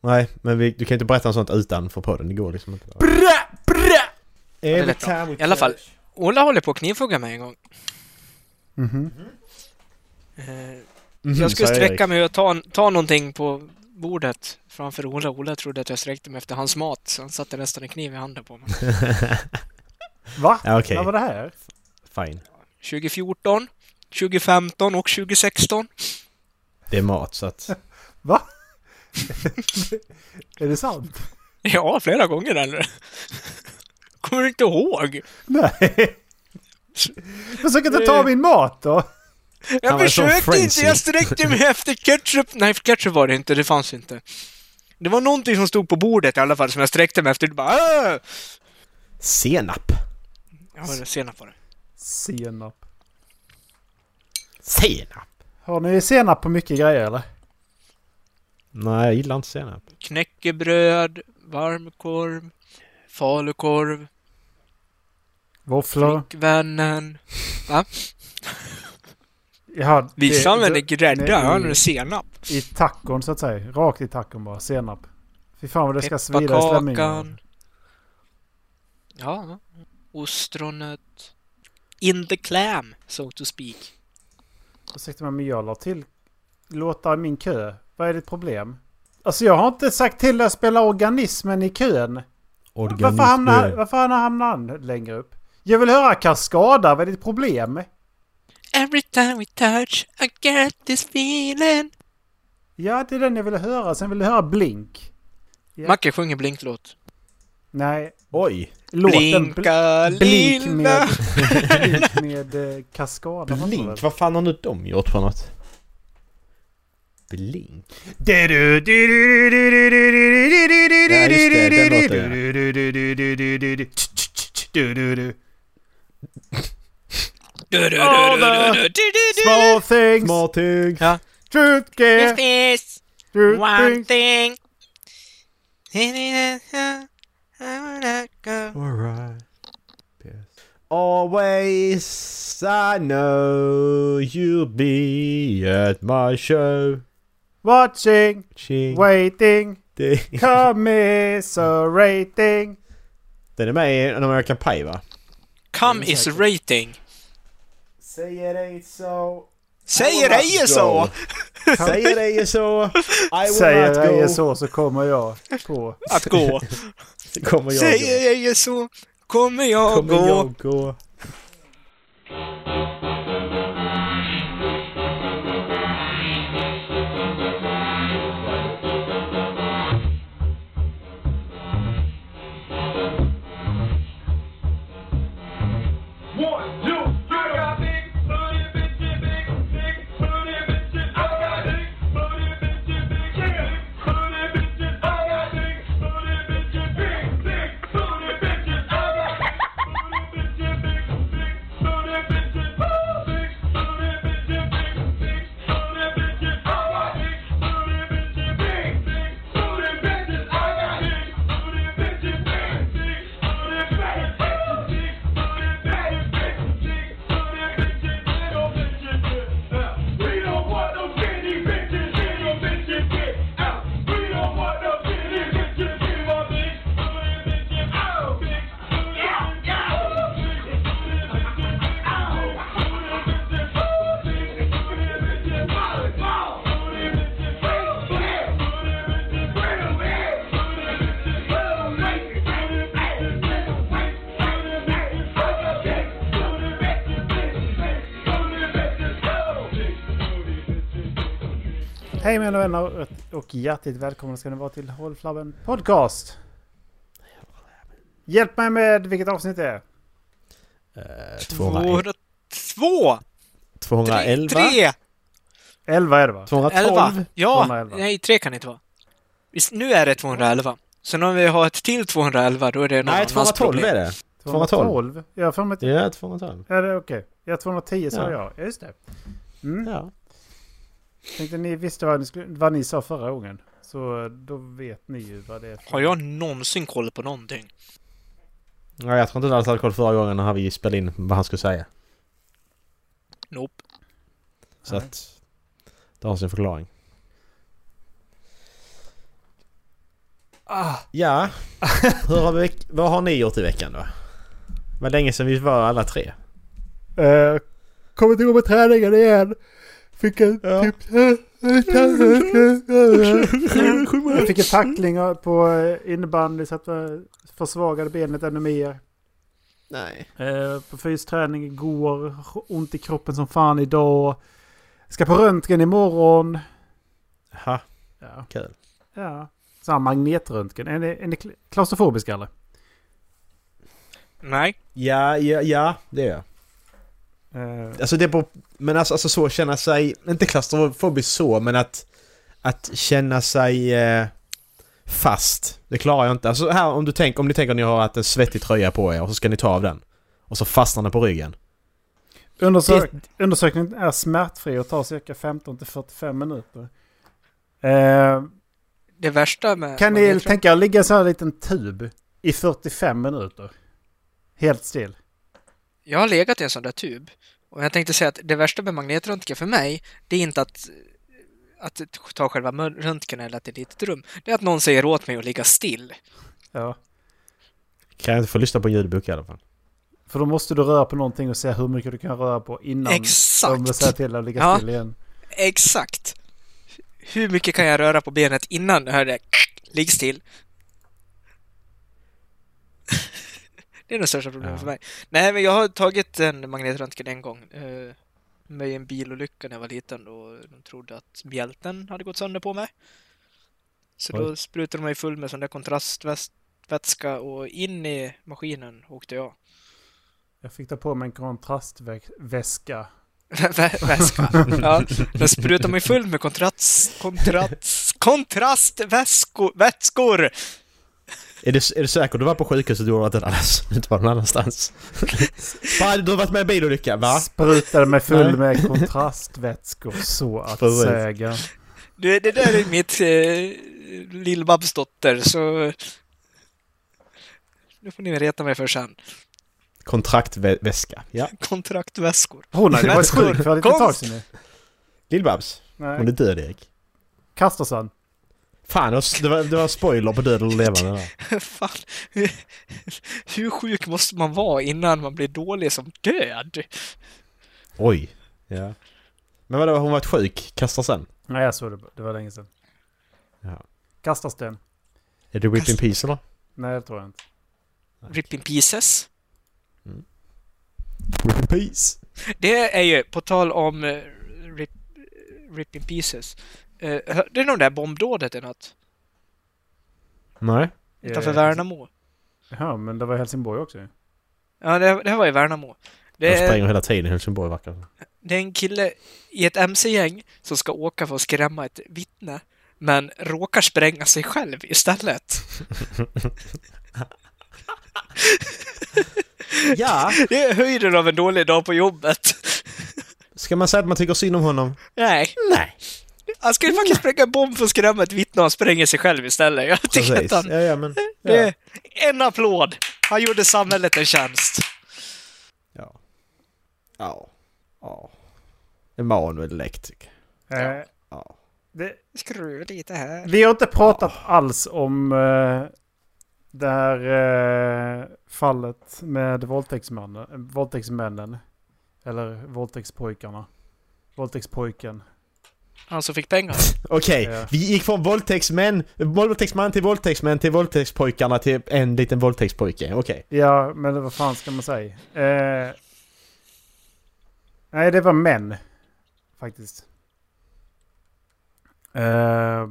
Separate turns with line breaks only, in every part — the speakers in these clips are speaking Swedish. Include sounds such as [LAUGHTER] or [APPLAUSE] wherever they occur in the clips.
Nej, men vi, du kan inte berätta om sånt utanför podden. Det går liksom inte.
Brä, brä!
Every
lät bra.
time we
I alla fall.
touch.
Ola håller på att knivhugga mig en gång.
Mhm. Mm-hmm.
Eh,
Mhm,
jag skulle
sa
sträcka
Erik.
mig och ta, ta någonting på bordet framför Ola. Ola trodde att jag sträckte mig efter hans mat, så han satte nästan en kniv i handen på
[LAUGHS]
mig.
Va?
Ja, okej.
När var det här?
Fine.
2014, 2015 och 2016.
Det är mat så att...
Va? [LAUGHS] är det sant?
Ja, flera gånger eller? [LAUGHS] Kommer du inte ihåg?
[LAUGHS] Nej. Försök inte ta min mat då.
Jag
var en sån
försökte inte,
frenzy.
jag sträckte mig efter ketchup. Nej, ketchup var det inte, det fanns inte. Det var någonting som stod på bordet i alla fall som jag sträckte mig efter. Det bara... "Åh!"
Senap.
Jag var senap på det.
Senap.
Senap?
Har ni senap på mycket grejer eller?
Nej, jag gillar inte senap.
Knäckebröd, varmkorv, falukorv,
Våfflor?
flickvännen.
Ja,
Vissa använder grädde, jag
nej,
använder senap.
I tacon så att säga. Rakt i tacon bara. Senap. Fy fan vad det ska svida i slemhinnan.
Pepparkakan. Ja, ostronet. In the clam, so to speak.
Ursäkta mig men jag la till låtar i min kö. Vad är ditt problem? Alltså jag har inte sagt till dig att spela organismen i kön. Varför hamnar, varför hamnar han längre upp? Jag vill höra Kaskada, vad är ditt problem?
Every time we touch I get this feeling.
Ja, det är den jag ville höra. Sen vill jag höra Blink. Ja.
Macke sjunger Blink-låt.
Nej,
Oj!
låten
Blinka
Bl- Blink
lilla...
med, blink med eh, Kaskada. vad heter
Blink? Vad fan har nu de gjort för något? Blink?
det? Du, du, du, du, du, du, du, du, du, du, du,
Ja, just det, den
du,
låten, ja.
du, du, du, du, du, du, du, du, tch, tch, tch, tch, du, du, du. Small things,
Smarting!
Ja.
truth
This
care,
is
truth
one
things.
thing. I wanna go.
Alright. Always I know you'll be at my show.
Watching,
Ching.
waiting,
Det-
commiserating.
Den är med i en American Pie va?
Come is rating.
Säger ej så.
Säger ej så!
Säger ej så. I will
Säger
not go.
jag så så kommer jag på.
Att gå.
Så kommer jag
Säger
gå.
ej så kommer jag
Kommer
gå.
jag gå.
One, two, three. I got big booty bitches, big, big booty bitches. I got big booty bitches, big, big booty bitches. I got big booty bitches, big, big booty bitches. I got big booty bitches, big, big booty bitches. Big booty bitches, big, big booty bitches. I got big booty bitches, big, big booty bitches. I got big booty bitches, big, big booty bitches. Big booty bitches.
Hej mina vänner och hjärtligt välkomna ska ni vara till Håll Flabben Podcast. Hjälp mig med vilket avsnitt det är.
Eh, 200
Två, två, tre,
211?
tre,
11 är det va?
212?
elva. Ja,
211.
nej, tre kan det inte vara. Visst, nu är det 211. Sen om vi har ett till 211, då är det någon
Nej,
annans
212
problem.
är det.
212? Jag har för mig att...
Ja, 212.
Ja, det är okej. Ja, 210 sa
Ja.
jag. Ja, just det. Mm.
Ja.
Tänkte ni visste vad ni, skulle, vad ni sa förra gången. Så då vet ni ju vad det är. för-
Har jag någonsin koll på någonting?
Nej, jag tror inte du alls hade koll förra gången när vi spelade in vad han skulle säga.
Nope.
Så att... Det har sin förklaring.
Ah,
Ja. Hur har vi, veck- vad har ni gjort i veckan då? Det var länge sedan vi var alla tre.
eh, kommer inte igång med träningen igen. Fick en
Ja.
typ... Jag fick en tackling på eh, innebandy så att jag försvagade benet ännu mer.
Nej.
Eh, På fysträning igår, ont i kroppen som fan idag. Ska på röntgen imorgon.
Ha,
Ja.
kul.
ja. Så här magnetröntgen. Är ni, är ni kla- klaustrofobiska eller?
Nej.
Ja, ja, ja, det är jag.
Eh,
Alltså det är på... Men alltså, alltså så känna sig... Inte klaustrofobisk så, men att... Att känna sig... Eh, fast. Det klarar jag inte. Alltså här om du tänker... Om ni tänker att ni har haft en svettig tröja på er och så ska ni ta av den. Och så fastnar den på ryggen.
Undersök undersökningen är smärtfri och tar cirka 15 till 45 minuter. Eh,
Det värsta med...
kan
jag
ni
tror-
tänka er att ligga i en sån här liten tub i 45 minuter? Helt still.
Jag har legat i en sån där tub. Och jag tänkte säga att det värsta med magnetröntgen för mig, det är inte att, att ta själva mör- röntgen eller att det är ett litet rum. Det är att någon säger åt mig att ligga still.
Ja.
Kan jag inte få lyssna på en ljudbok i alla fall?
För då måste du röra på någonting och se hur mycket du kan röra på innan
Exakt.
de säger till dig att ligga
Ja.
still igen.
Exakt! Hur mycket kan jag röra på benet innan jag hör det? Ligg still! [LAUGHS] Det är det största problemet
Ja.
för mig. Nej, men jag har tagit en magnetröntgen en gång. eh, Med en bilolycka när jag var liten och de trodde att bjälten hade gått sönder på mig. Så då sprutade de mig full med sån där kontrastvätska och in i maskinen åkte jag.
Jag fick ta på mig en kontrastväska.
Vä- Väska. Ja, den sprutar mig full med kontrats, kontrats, kontrastväskor. Vätskor!
Är du, är du säker? Du var på sjukhuset [LAUGHS] du har varit där annars. Inte var någon [LAUGHS] annanstans. Fan, du har varit med i en bilolycka, va?
Sprutade mig
Nej.
full med kontrastvätskor så att
Precis.
säga.
Du, det där är mitt eh, lill-Babs dotter, så... Nu får ni reta mig för sen.
Kontraktväska. Ja.
Kontraktväskor. [LAUGHS]
Hon hade ju varit
Vätskor.
sjuk för ett litet
Konst.
tag sedan nu.
Lill-Babs.
Nej.
Hon är död, Erik.
Kastarsan.
Fan, det var- det var, det var en spoiler på död eller levande där.
Fan. hur- Hur sjuk måste man vara innan man blir dålig som död?
Oj. Ja. Men vadå, hon varit sjuk? Kastar sen?
Nej, jag såg det. Det var länge sedan.
Ja.
Kastarsten.
Är det Rip in Peace eller?
Nej, det tror jag inte.
Rip in pieces.
Rip in Peace.
Det är ju, på tal om eh, rip, rip in pieces. Eh, Hörde ni om det här bombdådet i natt?
Nej.
Utanför
Eh,
Värnamo.
Ja, men det var i Helsingborg också ju.
Ja, det, det här var i Värnamo. Det
De
är,
springer hela tiden i Helsingborg verkar det som.
det är en kille i ett mc-gäng som ska åka för att skrämma ett vittne. Men råkar spränga sig själv istället. [LAUGHS]
Ja!
Det är höjden av en dålig dag på jobbet. [LAUGHS]
Ska man säga att man tycker synd om
[LAUGHS]
honom?
Nej,
Nej.
han ska ju faktiskt spränga en bomb för att skrämma ett vittne och han spränger sig själv istället. Jag tycker
Precis.
att han...
Ja, ja, men...
Det
Ja.
är en applåd! Han gjorde samhället en tjänst.
Ja. Ja. ja. Emanuel Lektik.
Eh,
Ja.
det,
Skruv lite här.
vi har inte pratat alls om eh, det här eh, fallet med våldtäktsmannen. eh, Våldtäktsmännen. Eller våldtäktspojkarna. Våldtäktspojken.
Han som fick pengar.
Okej,
Ja.
vi gick från våldtäktsmän, våldtäktsman till våldtäktsmän till våldtäktspojkarna till en liten våldtäktspojke. Okej.
Ja, men vad fan ska man säga? Eh, nej, det var män. Faktiskt. Eh,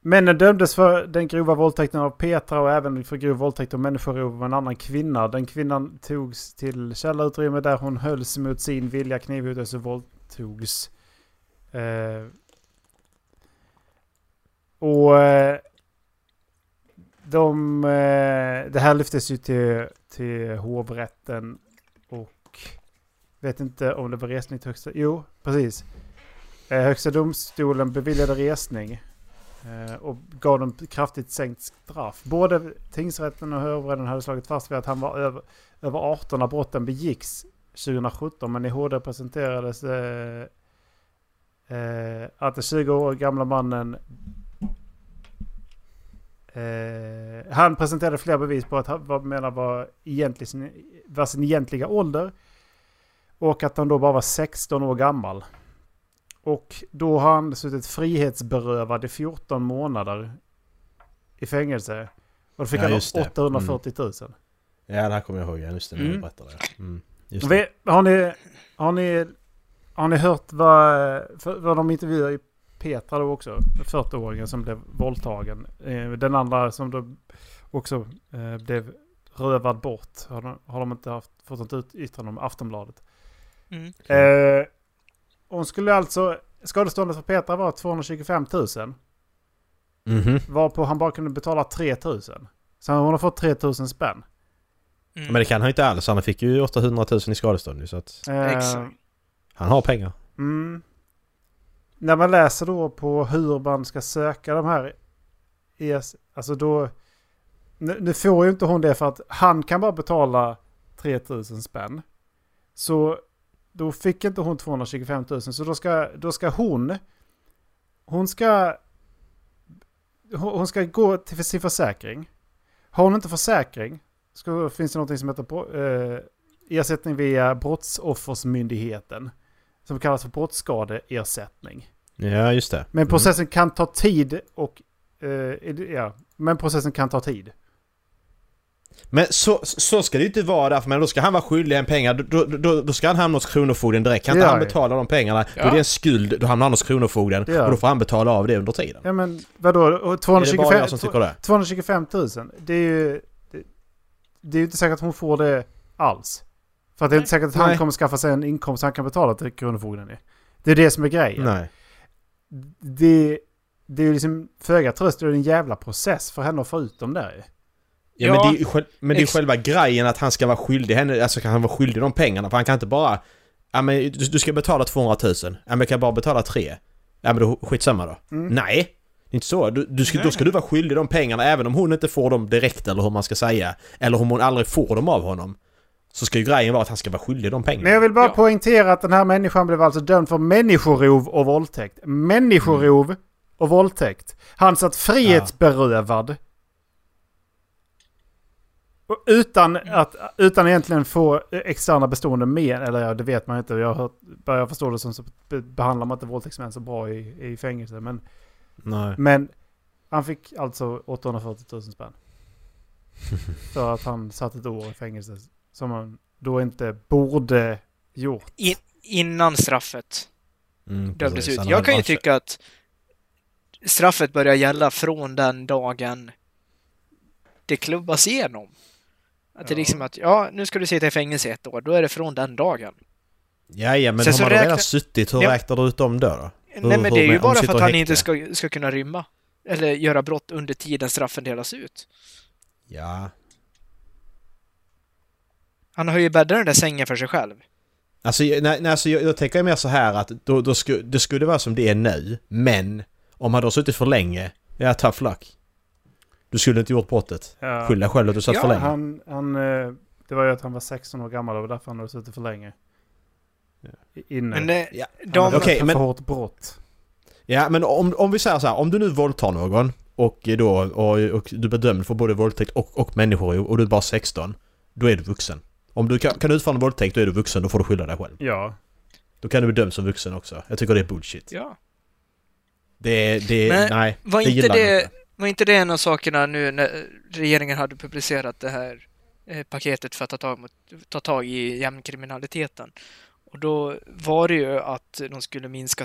männen dömdes för den grova våldtäkten av Petra och även för grov våldtäkt av människorov av en annan kvinna. Den kvinnan togs till källarutrymme där hon hölls mot sin vilja, knivhotades och våldtogs. Eh, och... Eh, de, eh, det här lyftes ju till, till hovrätten och vet inte om det var resning till högsta... Jo, precis. Eh, Högsta domstolen beviljade resning eh, och gav dem kraftigt sänkt straff. Både tingsrätten och hovrätten hade slagit fast vid att han var över, över 18 när brotten begicks 2017 men i HD presenterades eh, eh, att den 20 år gamla mannen Eh, han presenterade flera bevis på att han vad han menar var, egentlig, sin- var sin egentliga ålder. Och att han då bara var 16 år gammal. Och då har han suttit frihetsberövad i 14 månader i fängelse. Och då fick
Ja,
han
just det. Mm.
840 000.
Ja, det här kommer jag ihåg. Ja, just det. När du
Mm.
berättade det. Mm. Just det.
Vi, har, ni, har, ni, har ni hört vad, för, vad de intervjuar i Petra då också? 40-åringen som blev våldtagen. Eh, Den andra som då också eh, blev rövad bort. Har de, har de inte haft, fått något ut- yttrande om Aftonbladet.
Mm.
Eh, hon skulle alltså... Skadeståndet för Petra var 225 000.
Mhm.
Varpå han bara kunde betala 3 000. Så hon har fått 3 000 spänn.
Mm. Men det kan han ju inte alls. Han fick ju 800 000 i skadestånd ju, så att
Eh,
Exakt.
han har pengar.
Mm. När man läser då på hur man ska söka de här ES, alltså då... Nu, nu får ju inte hon det för att han kan bara betala 3000 spänn. Så då fick inte hon 225 000 så då ska, då ska hon... Hon ska... Hon hon ska gå till sin försäkring. Har hon inte försäkring så finns det något som heter bro- eh, ersättning via Brottsoffersmyndigheten som kallas för brottsskadeersättning.
Ja, just det.
Men processen kan ta tid och... eh, är det- ja, men processen kan ta tid.
Men så, så ska det ju inte vara därför, men då ska han vara skyldig en pengar. Då, då, då, då ska han hamna hos Kronofogden direkt. Kan inte
Ja,
han
ja.
betala de pengarna, då
Ja.
är det en skuld. Då hamnar han hos Kronofogden
Ja.
och då får han betala av det under tiden.
Ja men vadå? Och
Är det bara
225,
jag som tycker det?
225 000? Det är ju... Det, det är ju inte säkert att hon får det alls. För att det är inte säkert att han
Nej.
kommer skaffa sig en inkomst han kan betala till Kronofogden. i. Det är det som är grejen.
Nej.
Det, det är ju liksom föga tröst. Det är en jävla process för henne att få ut dem där ju.
Ja,
Ja.
men det är ju själ- men det är ju
Ex-
själva grejen att han ska vara skyldig henne, alltså kan han vara skyldig de pengarna för han kan inte bara... Ja men du, du ska betala 200 000, ja men jag kan bara betala 3. Ja men då skitsamma då.
Mm.
Nej! Det är inte så. Du, du ska, då ska du vara skyldig de pengarna även om hon inte får dem direkt eller hur man ska säga. Eller om hon aldrig får dem av honom. Så ska ju grejen vara att han ska vara skyldig de pengarna.
Men jag vill bara
Ja.
poängtera att den här människan blev alltså dömd för människorov och våldtäkt. Människorov och våldtäkt. Han satt frihetsberövad. Och utan, att, utan egentligen få externa bestående men, eller ja, det vet man ju inte. Jag, har hört, bara jag förstår det som så be- behandlar man inte våldtäktsmän så bra i, i fängelse. Men,
Nej.
men han fick alltså 840 000 spänn. för att han satt ett år i fängelse som han då inte borde gjort.
In, innan straffet
Mm,
dömdes
precis.
ut.
Han
Jag
hade
kan ju
bara-
tycka att straffet börjar gälla från den dagen det klubbas igenom. Att det
Ja.
är liksom att, ja, nu ska du sitta i fängelse i ett år, då är det från den dagen.
Jaja, men
Sen
har
så
man då redan
räknar-
suttit, hur
Ja.
räknar du ut dem då? då? Hur-
Nej, men det är
hur-
ju
om
bara
du
för
sitter
att
i
han
häkte?
inte ska, ska kunna rymma. Eller göra brott under tiden straffen delas ut.
Ja.
Han har ju bäddat den där sängen för sig själv.
Alltså, jag- nej, nej, alltså jag, jag tänker mer så här att då, då sku, det skulle vara som det är nu, men om han då har suttit för länge, ja tough luck. Du skulle inte gjort brottet.
Ja.
Skyll dig själv att du satt
Ja,
för länge.
Han, han, eh, det var ju att han var 16 år gammal och det var därför han hade suttit för länge. I- Inne.
Men eh,
Ja.
de...
han hade
Okej,
okay,
men-
för hårt brott.
Ja, men om, om vi säger så här, om du nu våldtar någon och då, och, och du blir dömd för både våldtäkt och, och människorov och du är bara 16, då är du vuxen. Om du kan, kan utföra en våldtäkt, då är du vuxen, då får du skylla dig själv.
Ja.
Då kan du bli dömd som vuxen också. Jag tycker det är bullshit.
Ja.
Det, det,
Men
nej.
Var
det
inte
gillar jag
det,
inte.
var inte det en av sakerna nu när regeringen hade publicerat det här eh, paketet för att ta tag, mot, ta tag i gängkriminaliteten? Och då var det ju att de skulle minska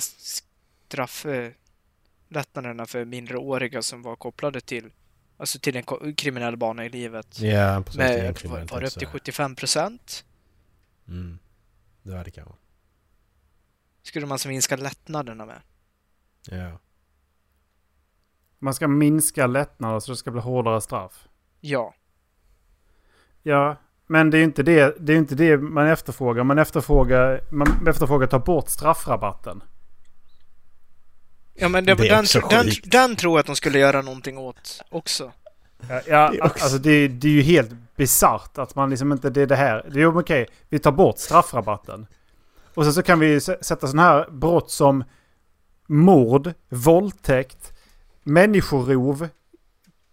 strafflättnaderna för minderåriga som var kopplade till, alltså till en ko- kriminell bana i livet.
Ja, precis. det är
Med,
egentligen
var,
inte
var det upp
så-
till 75 procent?
Mm. Det var det kanske.
Skulle man alltså minska lättnaderna med?
Ja.
Man ska minska lättnader så det ska bli hårdare straff.
Ja.
Ja. Men det är ju inte det, det, är ju inte det man efterfrågar. Man efterfrågar, man efterfrågar att ta bort straffrabatten.
Ja men det,
Det är
den,
också
den,
sjukt.
den tror jag att de skulle göra någonting åt också.
Ja, ja
Det är också-
alltså det, det är ju helt bisarrt att man liksom inte... Det är det här. Det är ju okej, vi tar bort straffrabatten. Och sen så kan vi ju sä- sätta sådana här brott som mord, våldtäkt, människorov,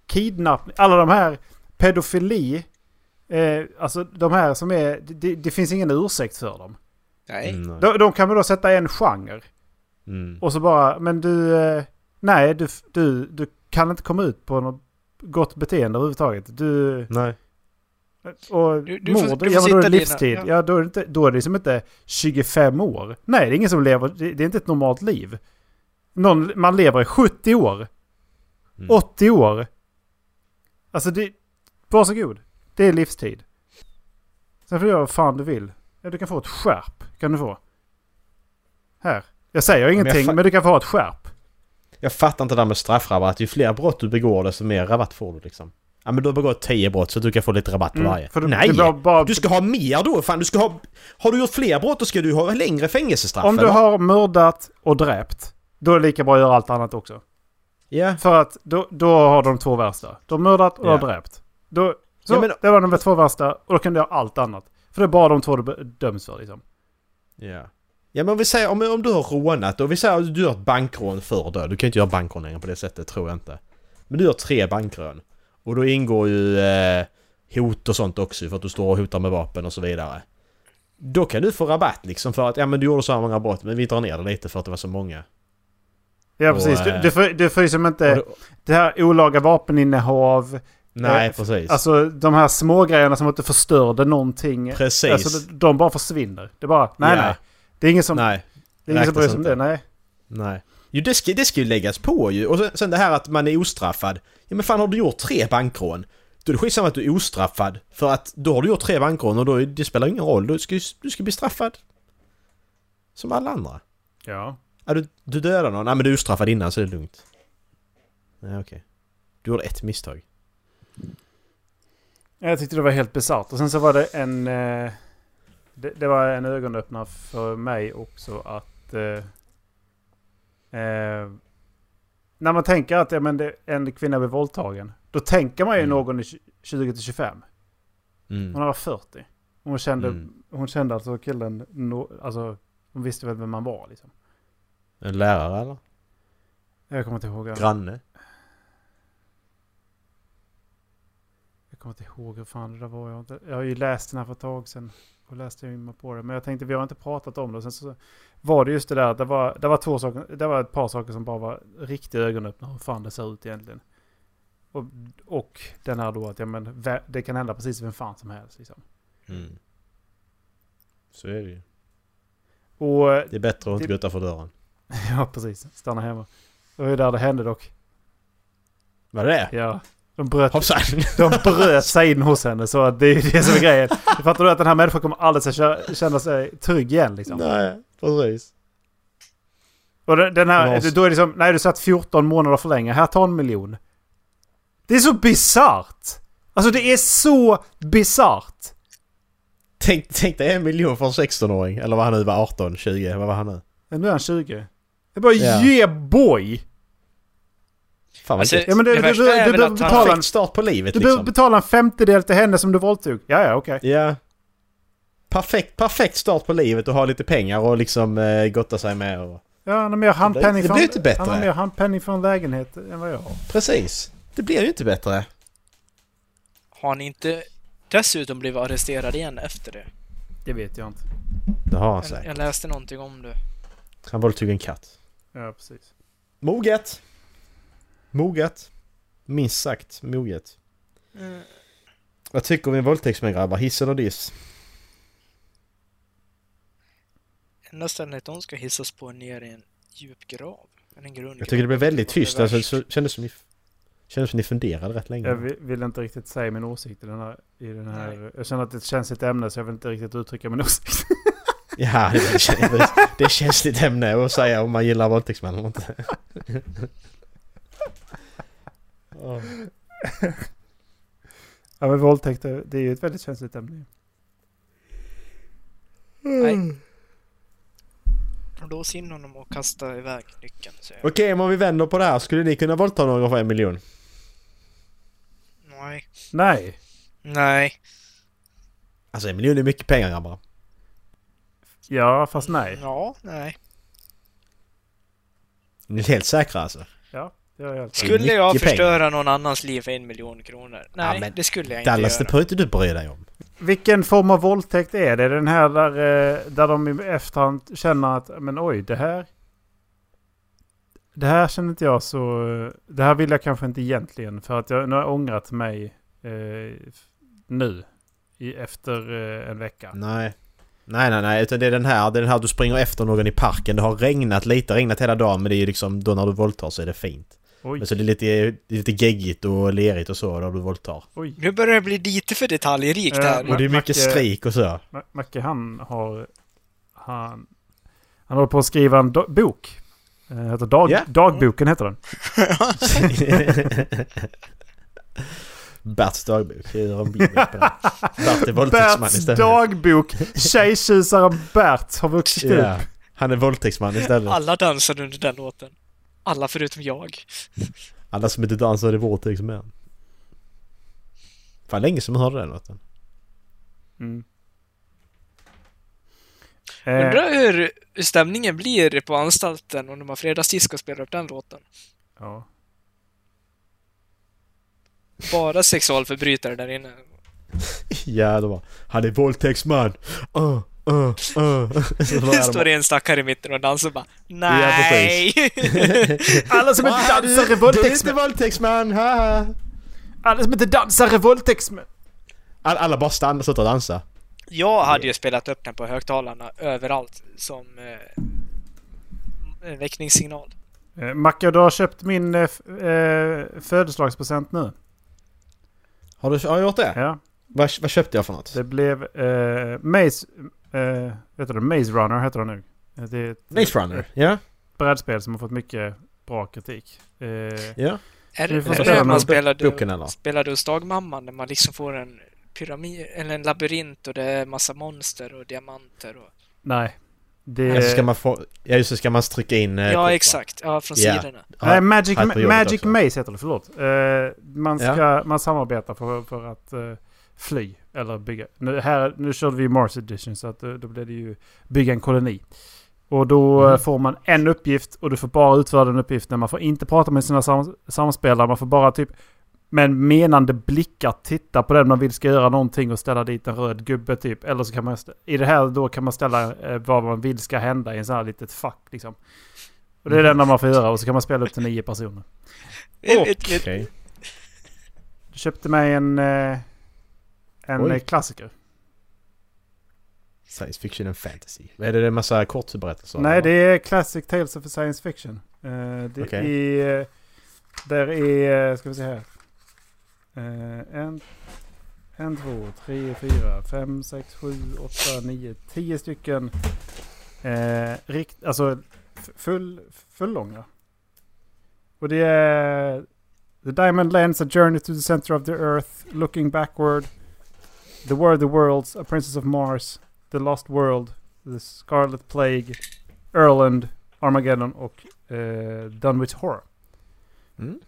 kidnappning, alla de här pedofili. Eh, alltså de här som är, det, det finns ingen ursäkt för dem.
Nej.
Mm, nej.
De, de kan väl då sätta en genre.
Mm.
Och så bara, men du, eh, nej du, du, du kan inte komma ut på något gott beteende överhuvudtaget. Du,
Nej.
och
Du- du får-
mord,
du får
ja men då är det
sitta dina-
livstid.
ja.
Ja, då, är det inte, då är det liksom inte 25 år. Nej, det är ingen som lever, det, det är inte ett normalt liv. Någon, man lever i 70 år.
Mm.
80 år. Alltså det, varsågod. Det är livstid. Sen får du göra vad fan du vill. Ja, du kan få ett skärp. Kan du få. Här. Jag säger ingenting, men,
fa-
du kan få ett skärp.
Jag fattar inte det där med straffrabatt. Ju fler brott du begår desto mer rabatt får du liksom. Ja men du har begått 10 brott så du kan få lite rabatt på
Mm,
varje.
för du-
Nej!
det var bara-
Du ska ha mer då! Fan du ska ha... Har du gjort fler brott då ska du ha längre fängelsestraff
Om du
eller?
har mördat och dräpt, då är det lika bra att göra allt annat också.
Ja.
För att då, då har de två värsta. De har mördat och
Ja.
har dräpt. Då, så,
Ja, men-
det var de två värsta och då kan du göra allt annat. För det är bara de två du be- döms för liksom.
Ja. Ja men om vi säger om, om du har rånat och vi säger att du gör ett bankrån förr då. Du kan ju inte göra bankrån längre på det sättet tror jag inte. Men du gör tre bankrån. Och då ingår ju eh, hot och sånt också för att du står och hotar med vapen och så vidare. Då kan du få rabatt liksom för att ja men du gjorde så här många brott men vi drar ner det lite för att det var så många.
Ja
Och,
precis. Du,
eh,
du, får, du får liksom inte...
Och då-
Det här olaga vapeninnehav.
nej
eh,
precis.
Alltså de här små grejerna som inte förstörde någonting.
precis.
Alltså de, de bara försvinner. Det är bara, nej
Ja.
nej. Det är ingen som,
nej.
det är ingen som
räknas
bryr sig om
inte.
det. Nej.
Nej. Jo, det ska, det ska ju läggas på ju. Och sen, sen det här att man är ostraffad. Ja men fan har du gjort tre bankrån? Då är det skitsamma att du är ostraffad. För att då har du gjort tre bankrån och då är, det spelar ingen roll. Du ska, ju- du ska bli straffad. Som alla andra.
Ja.
Ja, du, du dödar någon. Nej men du är ostraffad innan så det är lugnt. Nej okej. Du gjorde ett misstag.
Jag tyckte det var helt besatt. Och sen så var det en... eh, Det, det var en ögonöppnare för mig också att... Eh, eh, när man tänker att ja, men det, en kvinna blir våldtagen. Då tänker man ju
Mm.
någon i 20-25. Hon
Mm.
var 40. Hon kände,
Mm.
hon kände alltså killen... No, alltså, hon visste väl vem man var liksom.
En lärare eller?
Jag kommer inte ihåg. Jag
Granne?
kommer inte ihåg hur fan det där var. Jag, har inte, jag har ju läst den här för ett tag sedan. Och läste jag in på det. Men jag tänkte, vi har inte pratat om det. Och Sen så var det just det där att det var, det var två saker. Det var ett par saker som bara var riktiga ögonöppnare. Hur fan det ser ut egentligen. Och, och den här då att ja, men, vä- det kan hända precis vem fan som helst. Liksom.
Mm. Så är det ju.
Och [LAUGHS]
Det är bättre att inte
Det-
gå utanför dörren.
ja, precis. Stanna hemma. Det var ju där det hände dock.
Vad är det?
Ja. De bröt
Hoppsan!
De bröt sig in hos henne så att det är ju det som är grejen. Fattar du att den här människan kommer aldrig att kä- känna sig trygg igen
[LAUGHS]
liksom?
Nej, precis.
Och den den
Det
här,
var-
då är det som, nej du satt 14 månader för länge, här ta en miljon. Det är så bisarrt! Alltså det är så bisarrt!
Tänk, tänk dig en miljon för en 16-åring. Eller vad han nu var, 18, 20, vad var han nu?
Men Nu är han 20. Det är bara
Ja.
ge boy!
Fan vad
Alltså,
gött.
Ja, men det-
det,
det-
värsta
det- det-
är väl
det-
att han...
betala-
Perfekt start på livet
Du behöver
liksom.
betala en femtedel till henne som du våldtog. Ja, ja, okej.
Ja. Perfekt, perfekt start på livet och ha lite pengar och liksom eh, gotta sig med och...
Ja, han har mer handpenning
Det
för
blir inte
en-
bättre.
han har mer handpenning för en lägenhet än vad jag har.
Precis. Det blir ju inte bättre.
Har han inte dessutom blivit arresterad igen efter det?
Det vet jag inte.
Det har han
Jag,
säkert.
jag läste någonting om det.
Han våldtog en katt.
Ja, precis.
Moget! Moget. Minst sagt moget.
Mm.
Vad tycker vi om våldtäktsmän grabbar? Hiss eller diss?
Enda stället hon ska hissas på är ner i en djup grav. Eller en grund
Jag tycker det blev väldigt
Det är
tyst. Alltså,
värst.
så, kändes som ni... Kändes som ni funderade rätt länge.
Jag vi- vill inte riktigt säga min åsikt i den här... I den här jag känner att det är ett känsligt ämne så jag vill inte riktigt uttrycka min [LAUGHS] åsikt.
Ja, det är, det är känsligt ämne att säga om man gillar våldtäktsmän eller inte. Ja.
ja men våldtäkt är- det är ju ett väldigt känsligt ämne.
Nej. De låser in honom och kastar iväg nyckeln, säger jag.
Okej, men om vi vänder på det här. Skulle ni kunna våldta någon för en miljon?
Nej.
Nej!
Nej.
Alltså en miljon är mycket pengar grabbar.
Ja fast nej.
Ja, nej.
Ni är helt säkra alltså?
Ja. Det har jag helt
Sku-
Skulle jag
mycket pengar.
förstöra någon annans liv för en miljon kronor? Nej,
men
det skulle jag inte
Dallas, det
göra.
behöver inte du bry dig om.
Vilken form av våldtäkt är det? Den här där, eh, där de i efterhand känner att men oj, det här... Det här känner inte jag så... eh, Det här vill jag kanske inte egentligen för att jag nu har jag ångrat mig eh, f- nu. I, efter eh, en vecka.
Nej. Nej, nej, nej. Utan det är den här, det är den här du springer efter någon i parken. Det har regnat lite, regnat hela dagen. Men det är ju liksom då när du våldtar så är det fint.
Oj,
Men så det är lite, det är lite geggigt och lerigt och så när du våldtar.
oj.
Nu börjar det bli lite för detaljrikt
Eh,
här.
Och det är
Macke-
mycket skrik och så.
Ma- Macke han har... Han, han håller på att skriva en do- bok. Eh, heter dag,
Ja.
Dagboken heter den.
[LAUGHS] Berts dagbok. Jag gör en bild på den. Bert är våldtäktsman
Berts
istället.
dagbok. Tjejtjusaren Bert har vuxit upp.
Ja. Han är våldtäktsman istället.
Alla dansade under den låten. Alla förutom jag.
Alla som inte dansar i våldtäktsmän. Fan länge som man hörde den låten.
Mm. Eh,
Undrar hur stämningen blir på anstalten om de har fredagsdisk och spelar upp den låten.
Eh, ja.
Bara sexualförbrytare där inne.
Ja, det var Han är våldtäktsman! Uh, uh, uh. Så var
Det
det
står det en stackare i mitten och dansar och bara
precis.
Nej! [LAUGHS]
Alla som inte
Ah, Du är
dansar är
inte
våldtäktsmän!
våldtäktsman! haha.
Alla som inte dansar är våldtäktsmän!
All, alla bara stannar och slutar dansa.
jag hade ju spelat upp den på högtalarna överallt som eh, en väckningssignal.
Eh, Macke, du har köpt min eh, f- eh, födelsedagspresent nu.
Har du har jag gjort det?
Ja,
Vad, vad köpte jag för något?
det blev eh, Maze... Eh, vet du, det? Maze Runner heter det nu. Eh, Det är ett
Maze Runner? Ja.
brädspel som har fått mycket bra kritik. Eh,
ja.
Är det
Vi får
är det
spela
när man
med
spelade,
boken, eller?
spelade hos dagmamman när man liksom får en pyramid, eller en labyrint och det är massa monster och diamanter och...
nej.
Alltså
Det...
ska man få... Ja just det, ska man trycka in... eh,
Eh, Ja,
kortar.
exakt. Ja, från
Ja.
sidorna.
Ja,
Nej, Magic,
hade på jobbet
Magic
också.
Maze heter det, förlåt. Eh, man, ska, man samarbetar för, för att eh, fly eller bygga. Nu, här, nu körde vi Mars Edition så att, eh, då blev det ju bygga en koloni. Och då eh,
Mhm.
får man en uppgift och du får bara utföra den uppgiften. Man får inte prata med sina sam samspelare. Man får bara typ med menande blickar titta på den man vill ska göra någonting och ställa dit en röd gubbe typ. Eller så kan man, st- i det här då kan man ställa eh, vad man vill ska hända i en sån här litet fack liksom. Och det är det enda man får göra och så kan man spela upp till nio personer.
Ett- ett- ett-
Okej.
Du köpte mig en, eh, en
Oj.
eh, klassiker.
Science fiction and fantasy. Är det en massa kortberättelser?
Nej, det är Classic Tales of Science Fiction. Eh, det
Okej.
är... Där är... eh, Ska vi se här. Eh, en, en, två, tre, fyra, fem, sex, sju, åtta, nio, tio stycken. Eh, rikt, alltså f- full, full långa. Och det är... The Diamond Lands, A Journey to the Center of the Earth, Looking Backward, The War of the Worlds, A Princess of Mars, The Lost World, The Scarlet Plague, Erland, Armageddon och eh, Dunwich Horror.
Mm.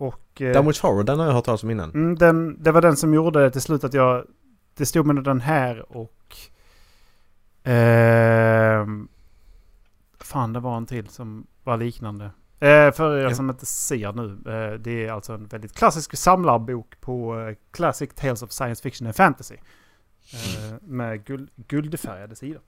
Och eh,
Damage Horror, den har jag hört talas om innan.
mm, den, det var den som gjorde det till slut att jag... Det stod mellan den här och... ehm, fan, det var en till som var liknande. Eh, för er
Ja.
som inte ser nu, eh, det är alltså en väldigt klassisk samlarbok på eh, Classic Tales of Science Fiction and Fantasy. Eh, med guld, guldfärgade sidor.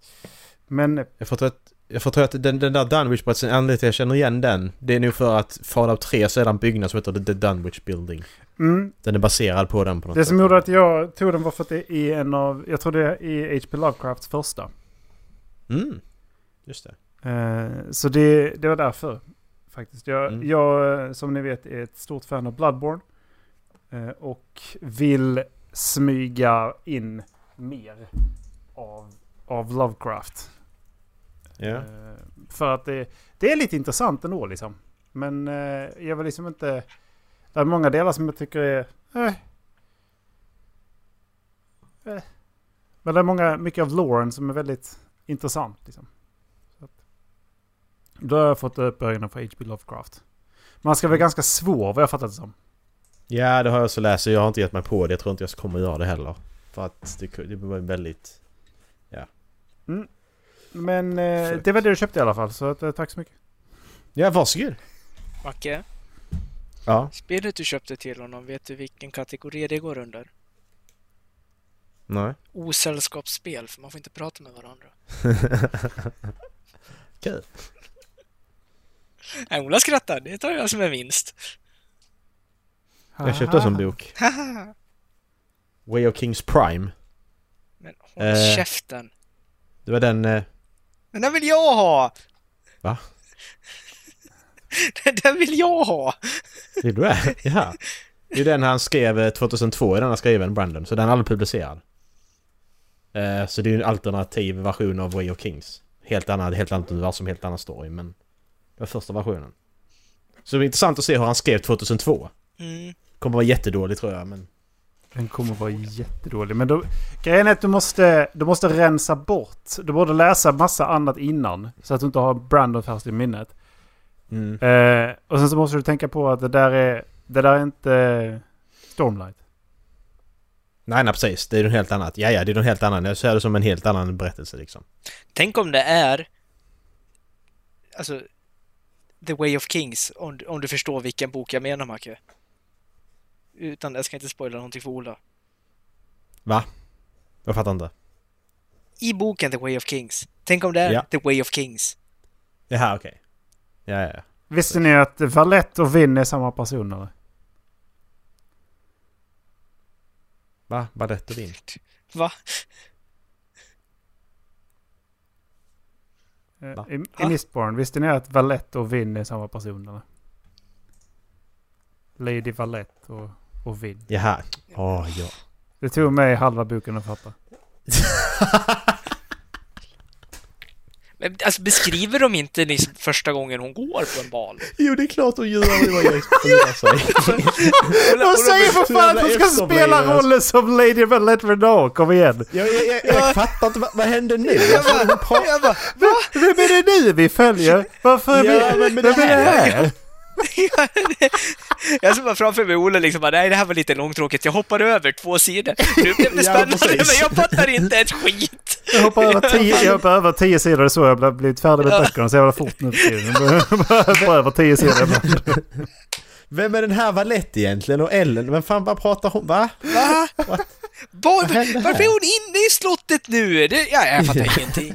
Men eh,
Jag får tro att, jag får tro att den, den där Dunwich-berättelsen, anledningen till att jag känner igen den, det är nog för att Fallout 3 så är det en byggnad som heter The Dunwich Building.
mm,
Den är baserad på den på något
Det
sätt.
som gjorde att jag tog den var för att det är en av, jag tror det är H.P. Lovecrafts första.
Mm. Just det.
Eh, så det, det var därför faktiskt. Jag,
Mm.
jag, eh, som ni vet, är ett stort fan av Bloodborne. eh, och vill smyga in mer av, av Lovecraft.
Ja.
Eh, för att det, det är lite intressant ändå liksom. Men eh, jag var liksom inte... Det är många delar som jag tycker är... Eh, eh. Men det är många, mycket av loren som är väldigt intressant. Liksom. Så att, då har jag fått upp ögonen för H.P. Lovecraft. Man ska vara ganska svår vad jag fattat det som.
ja, det har jag så läst så jag har inte gett mig på det. Jag tror inte jag kommer göra det heller. För att det, det var en väldigt...
Men eh,
Sjukt.
det var det du köpte i alla fall, så att, eh, tack så mycket.
Ja, varsågod!
Macke,
Ja.
Spelet du köpte till honom, vet du vilken kategori det går under?
Nej.
Osällskapsspel, för man får inte prata med varandra.
Kul.
Nej, Ola skrattar. Det tar jag som en vinst.
Jag köpte också en bok.
Haha.
Way of Kings Prime.
Men håll
Eh.
käften.
Det var den... Eh,
Den där vill jag ha!
Va?
[LAUGHS] Den där vill jag ha!
vill du det? Ja. Det är den han skrev eh, 2002, är den han skriven, Brandon. Så den är aldrig publicerad. Eh, så det är ju en alternativ version av Way of Kings. Helt annat, helt annat universum, helt annan story, men... Det var första versionen. Så det är intressant att se hur han skrev 2002.
Mm.
Kommer vara jättedålig tror jag, men...
Den kommer vara jättedålig. Men då, grejen är att du måste, du måste rensa bort. Du borde läsa massa annat innan. Så att du inte har Brandon färskt i minnet.
Mm.
Eh, och sen så måste du tänka på att det där är, det där är inte Stormlight.
Nej, nej precis. Det är något helt annat. Ja, ja, det är något helt annat. Jag ser det som en helt annan berättelse liksom.
Tänk om det är... Alltså... The Way of Kings, om, du- om du förstår vilken bok jag menar, Macke. Utan, jag ska inte spoila någonting för Ola.
Jag fattar inte.
I boken The Way of Kings, tänk om det är
Ja.
The Way of Kings.
Jaha, okej. Ja, ja, ja.
Visste ni att Valette och Vinn är samma personer?
Va? Badette din?
Va?
Eh,
Va?
I,
Va?
i Mistborn, visste ni att Valette och Vinn är samma personer? Lady Valette och, och Vinn.
Jaha. Åh, ja.
Det tog mig halva boken att fatta.
Men, alltså, beskriver de inte liksom första gången hon går på en bal?
Jo, det är klart hon gör det vad jag exponerar [LAUGHS] sig.
De säger för fan att de ska
Efterbliven,
spela
alltså.
rollen som Lady Valette Renault, kom igen!
Jag, jag, jag, jag fattar inte, vad, vad händer nu? Alltså, hon pratar-
Jag bara,
Vem är det nu vi följer? Varför är
Ja,
vi...
men med det här!
jag såg bara framför mig Olle liksom bara, nej det här var lite långtråkigt, jag hoppar över två sidor. Nu blev det
Ja,
spännande
precis.
men jag fattar inte ett skit.
Jag hoppar över tio, jag hoppar över tio sidor, det är så jag har blivit färdig med böckerna så jävla fort nu för tiden. Jag hoppar över tio sidor ibland.
Vem är den här Valette egentligen? Och Ellen? Vem fan, vad pratar hon? Va?
Va? Var,
hände
varför
här?
är hon inne i slottet nu? Det, ja, jag fattar ingenting.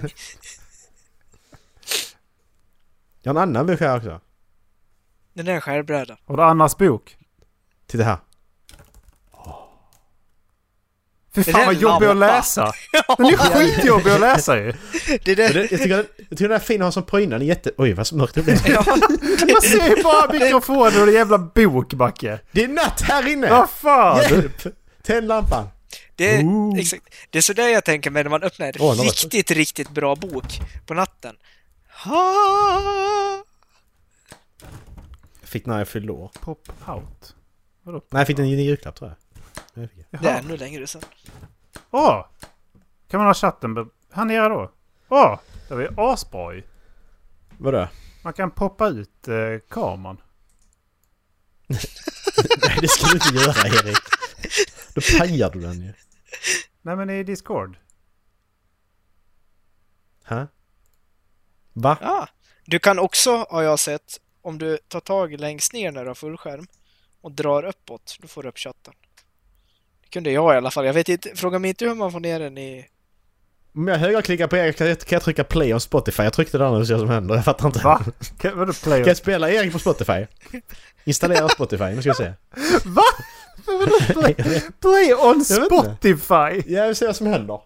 Jag har en annan bok här också.
Den där skärbrädan.
Har du Annas bok?
Titta här.
Fy
Det
fan
är
vad
en
jobbig att
lampa.
läsa! Den är skitjobbig att läsa ju!
Det där...
Men det- Jag tycker, den- jag tycker den här fina har som prydnad. Den är jätte... Oj, vad mörkt det [LAUGHS] blev.
Ja,
Man ser ju bara mikrofonen och en jävla bok, Backe!
Det är natt här inne!
Vad fan!
Hjälp! Tänd lampan!
det,
[LAUGHS] Ooh.
exakt. det är sådär jag tänker mig när man öppnar en
Åh, den var-
riktigt, riktigt bra bok på natten. Ha!
Jag fick när jag fyllde år.
Pop out. Vadå?
Nej, jag fick den i julklapp tror jag. Men jag fick den.
Det är
Jaha.
ännu längre sen.
Åh! Kan man ha chatten be- här nere då? Åh! Det var ju asbra ju.
Vadå?
Man kan poppa ut eh, kameran.
Nej, [LAUGHS] det ska du inte göra Erik. Då pajar du den ju.
Nej men i Discord.
Ha? Va?
Ja. Du kan också, har jag sett, om du tar tag längst ner när du har fullskärm och drar uppåt, då får du upp chatten. Det kunde jag i alla fall. Jag vet inte, fråga mig inte hur man får ner den i...
Om jag högerklickar på Erik kan jag, kan jag trycka play on Spotify. Jag tryckte där nu och ser vad som händer. Jag fattar inte.
Va? Kan, vadå
[LAUGHS]
play?
Kan jag spela Erik på Spotify?
[LAUGHS]
Installera Spotify, nu ska vi se.
Va? Vadå play?
[LAUGHS]
Play on
Jag vet
Spotify?
Ja, vi ser vad som händer.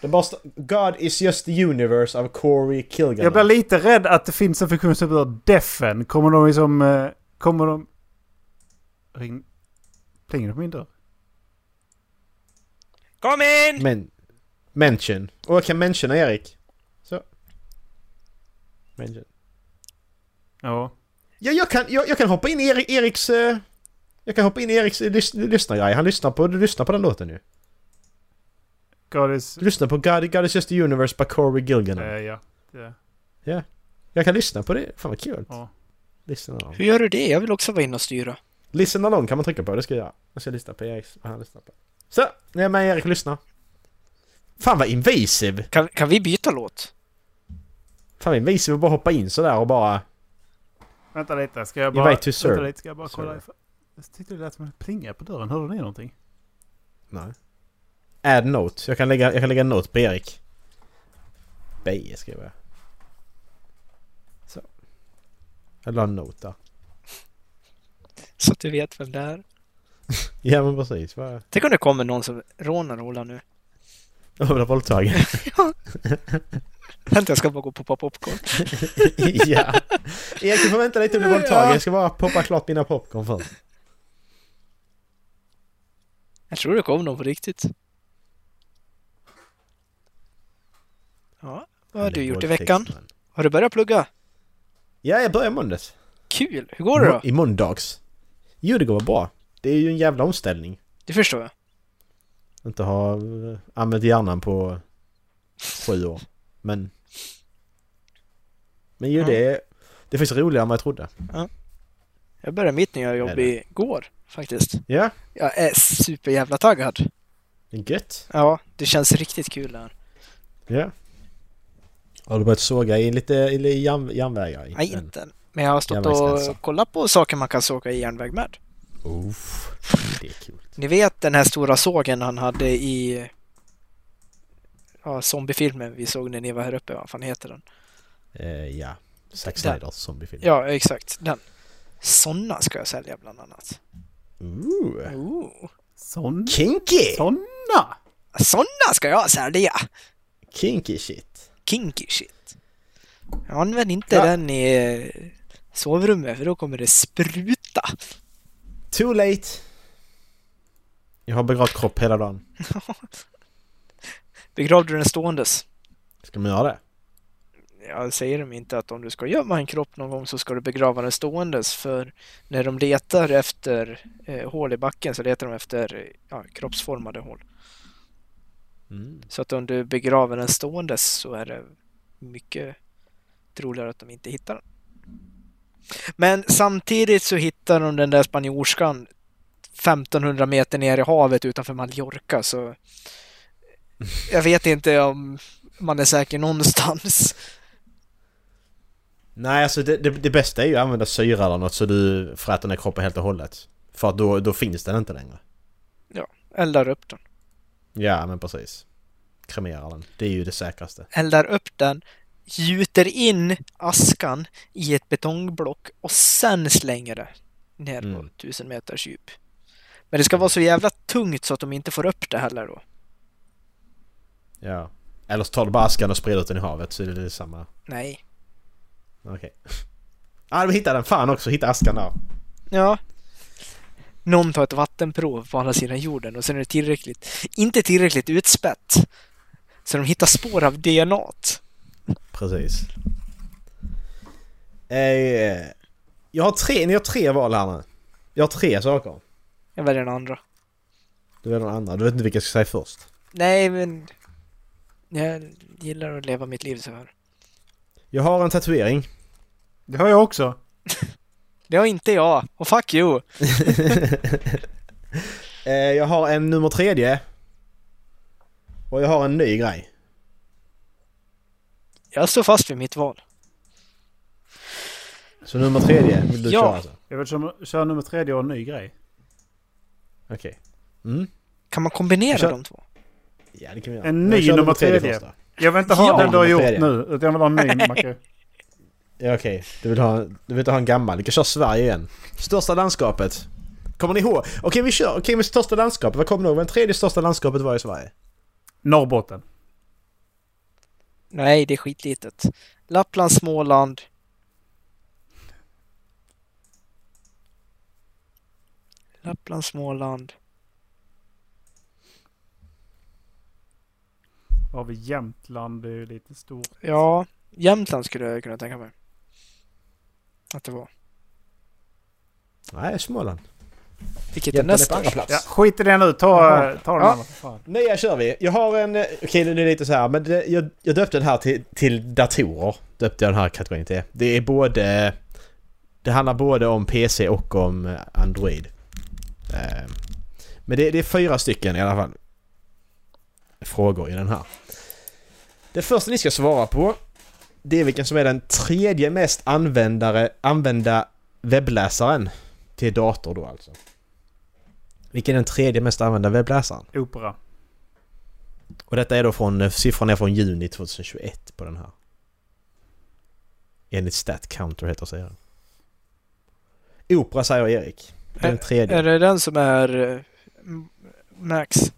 Den bara sta- God is just the universe av Corey Kilgan.
Jag blir lite rädd att det finns en funktion som heter Defen. Kommer de liksom... eh, Kommer de... Ring... Plingar det på min dörr?
Kom in!
Men... Mention. Och jag kan mentiona Erik. Så. Mention.
Ja.
Ja, jag kan, jag, jag kan hoppa in i Erik, Eriks... eh, Jag kan hoppa in i Eriks eh, lys, lyssnargrej. Han lyssnar på, du lyssnar på den låten nu.
God is...
Du lyssnar på God, God is just the universe by Corey Gilgan.
Eh, ja. Ja.
Jag kan lyssna på det. Fan vad kul.
Ja.
Listen along.
Hur gör du det? Jag vill också vara inne och styra.
Listen along kan man trycka på. Det ska jag göra. Jag ska lyssna på Eriks... Vad han lyssnar på. Så! Nu är jag med Erik och lyssnar. Fan vad invasiv!
Kan, kan vi byta låt?
Fan vad invasiv att bara hoppa in sådär och bara...
Vänta lite, ska jag bara...
Invite to
Vänta
serve.
lite, ska jag bara kolla
Server.
ifall... Jag tyckte det lät som att det plingade på dörren. Hörde ni någonting?
Nej. Add note. Jag kan lägga, jag kan lägga en note på Erik. Beje skriver jag. Så. Jag la en note där.
Så att du vet vem det är.
Ja men precis. Vad-
Tänk om det kommer någon som rånar Ola nu.
Jag har blivit
[LAUGHS]
våldtagen.
Vänta, jag ska bara gå och poppa popcorn.
ja. Erik du får vänta lite om du blir våldtagen. Jag ska bara poppa klart mina popcorn först.
Jag tror det kom någon på riktigt. Ja, vad har du gjort i veckan?
Våldtäktsman.
Har du börjat plugga?
Ja, jag börjar i måndags.
Kul! Hur går det då?
I måndags. Jo, det går bra. Det är ju en jävla omställning.
Det förstår jag.
Inte ha eh, använt hjärnan på sju år. Men... Men ju
Ja.
det... Det är faktiskt roligare än vad jag trodde.
Jag började mitt nya
Är
jobb
det?
igår faktiskt.
Ja,
Jag är superjävla taggad.
det är gött.
Ja, det känns riktigt kul det här.
Ja. Har du börjat såga i lite i järn, järnvägar? i
Nej,
den?
inte än. Men jag har stått
Järnvägsrälsa.
och kollat på saker man kan såga i järnväg med.
Uff, det är kul.
Ni vet den här stora sågen han hade i ja, zombiefilmen vi såg när ni var här uppe, vad fan heter den?
Eh, ja. Zack
Där.
Snyders zombiefilm.
Ja, exakt, den. Sådana ska jag sälja bland annat.
Ooh.
Ooh.
Sån...
Kinky!
Såna!
Sådana ska jag sälja!
Kinky shit.
Kinky shit. Jag använder inte
Ja.
den i eh, sovrummet för då kommer det spruta.
Too late! Jag har begravt kropp hela dagen.
Begravde du den ståendes?
Ska man göra det?
Jag säger dem inte att om du ska gömma en kropp någon gång så ska du begrava den ståendes för när de letar efter eh, hål i backen så letar de efter eh, ja, kroppsformade hål.
Mm.
Så att om du begraver den ståendes så är det mycket troligare att de inte hittar den. Men samtidigt så hittar de den där spanjorskan 1500 meter ner i havet utanför Mallorca så jag vet inte om man är säker någonstans.
Nej, alltså det, det, det bästa är ju att använda syra eller något så du fräter ner kroppen helt och hållet. För att då, då finns den inte längre.
Eldar upp den.
Ja, men precis. Kremera den. Det är ju det säkraste.
Eldar upp den, gjuter in askan i ett betongblock och sen slänger det ner på
Mm.
1000 meters djup. Men det ska vara så jävla tungt så att de inte får upp det heller då.
Ja. Eller så tar du bara askan och sprider ut den i havet så är det samma.
Nej.
Okej. [LAUGHS] Ah, du hittade den! Fan också, hitta askan där.
Ja. Någon tar ett vattenprov på andra sidan jorden och sen är det tillräckligt, inte tillräckligt utspätt. Så de hittar spår av DNA. t.
Precis. Eh, jag har tre, ni har tre val här nu. Jag har tre saker.
Jag väljer den andra.
Du är den andra, du vet inte vilka jag ska säga först.
Nej, men... Jag gillar att leva mitt liv så här.
Jag har en tatuering.
Det har jag också.
Det har inte jag. Och fuck you!
Eh, jag har en nummer tredje. Och jag har en ny grej.
Jag står fast vid mitt val.
Så nummer tredje vill du
Ja.
köra alltså?
Jag vill köra, köra nummer tredje och en ny grej.
Okej. Mm.
Kan man kombinera
Kör.
de två?
Ja det kan vi göra.
En
Men
ny
jag kör
nummer tredje.
först då.
Jag vill inte ha
Ja.
den du har
Nummer
gjort
tredje.
nu, utan jag vill ha en ny
[LAUGHS]
Macke.
Ja, Okej, du, vill ha, du vill inte ha en gammal. Du kan köra Sverige igen. Största landskapet. Kommer ni ihåg? Okej vi kör, okej med största landskapet. Vad kommer ni ihåg? Vad det tredje största landskapet var i Sverige?
Norrbotten.
Nej, det är skitlitet. Lappland, Småland. Lappland, Småland.
Då har vi Jämtland, det är ju lite stort.
Ja, Jämtland skulle jag kunna tänka mig. Att det var.
Nej, Småland.
Vilket är
Jämtland är
näst
på andra
störst.
plats.
Ja, skit i det nu, ta,
Jaha.
ta den
Ja.
andra. Fan.
Nya kör vi. Jag har en... eh, Okej, nu är det lite så här, men det, jag, jag döpte den här till, till datorer. Döpte jag den här kategorin till. Det är både... Det handlar både om PC och om eh, Android. Eh, Men det, det är fyra stycken i alla fall. Frågor i den här. Det första ni ska svara på Det är vilken som är den tredje mest användare, använda webbläsaren till dator då alltså. Vilken är den tredje mest använda webbläsaren?
Opera.
Och detta är då från, eh, siffran är från juni 2021 på den här. Enligt StatCounter heter serien. Opera säger Erik. Det är Den tredje.
Är det den som är eh, M- Max?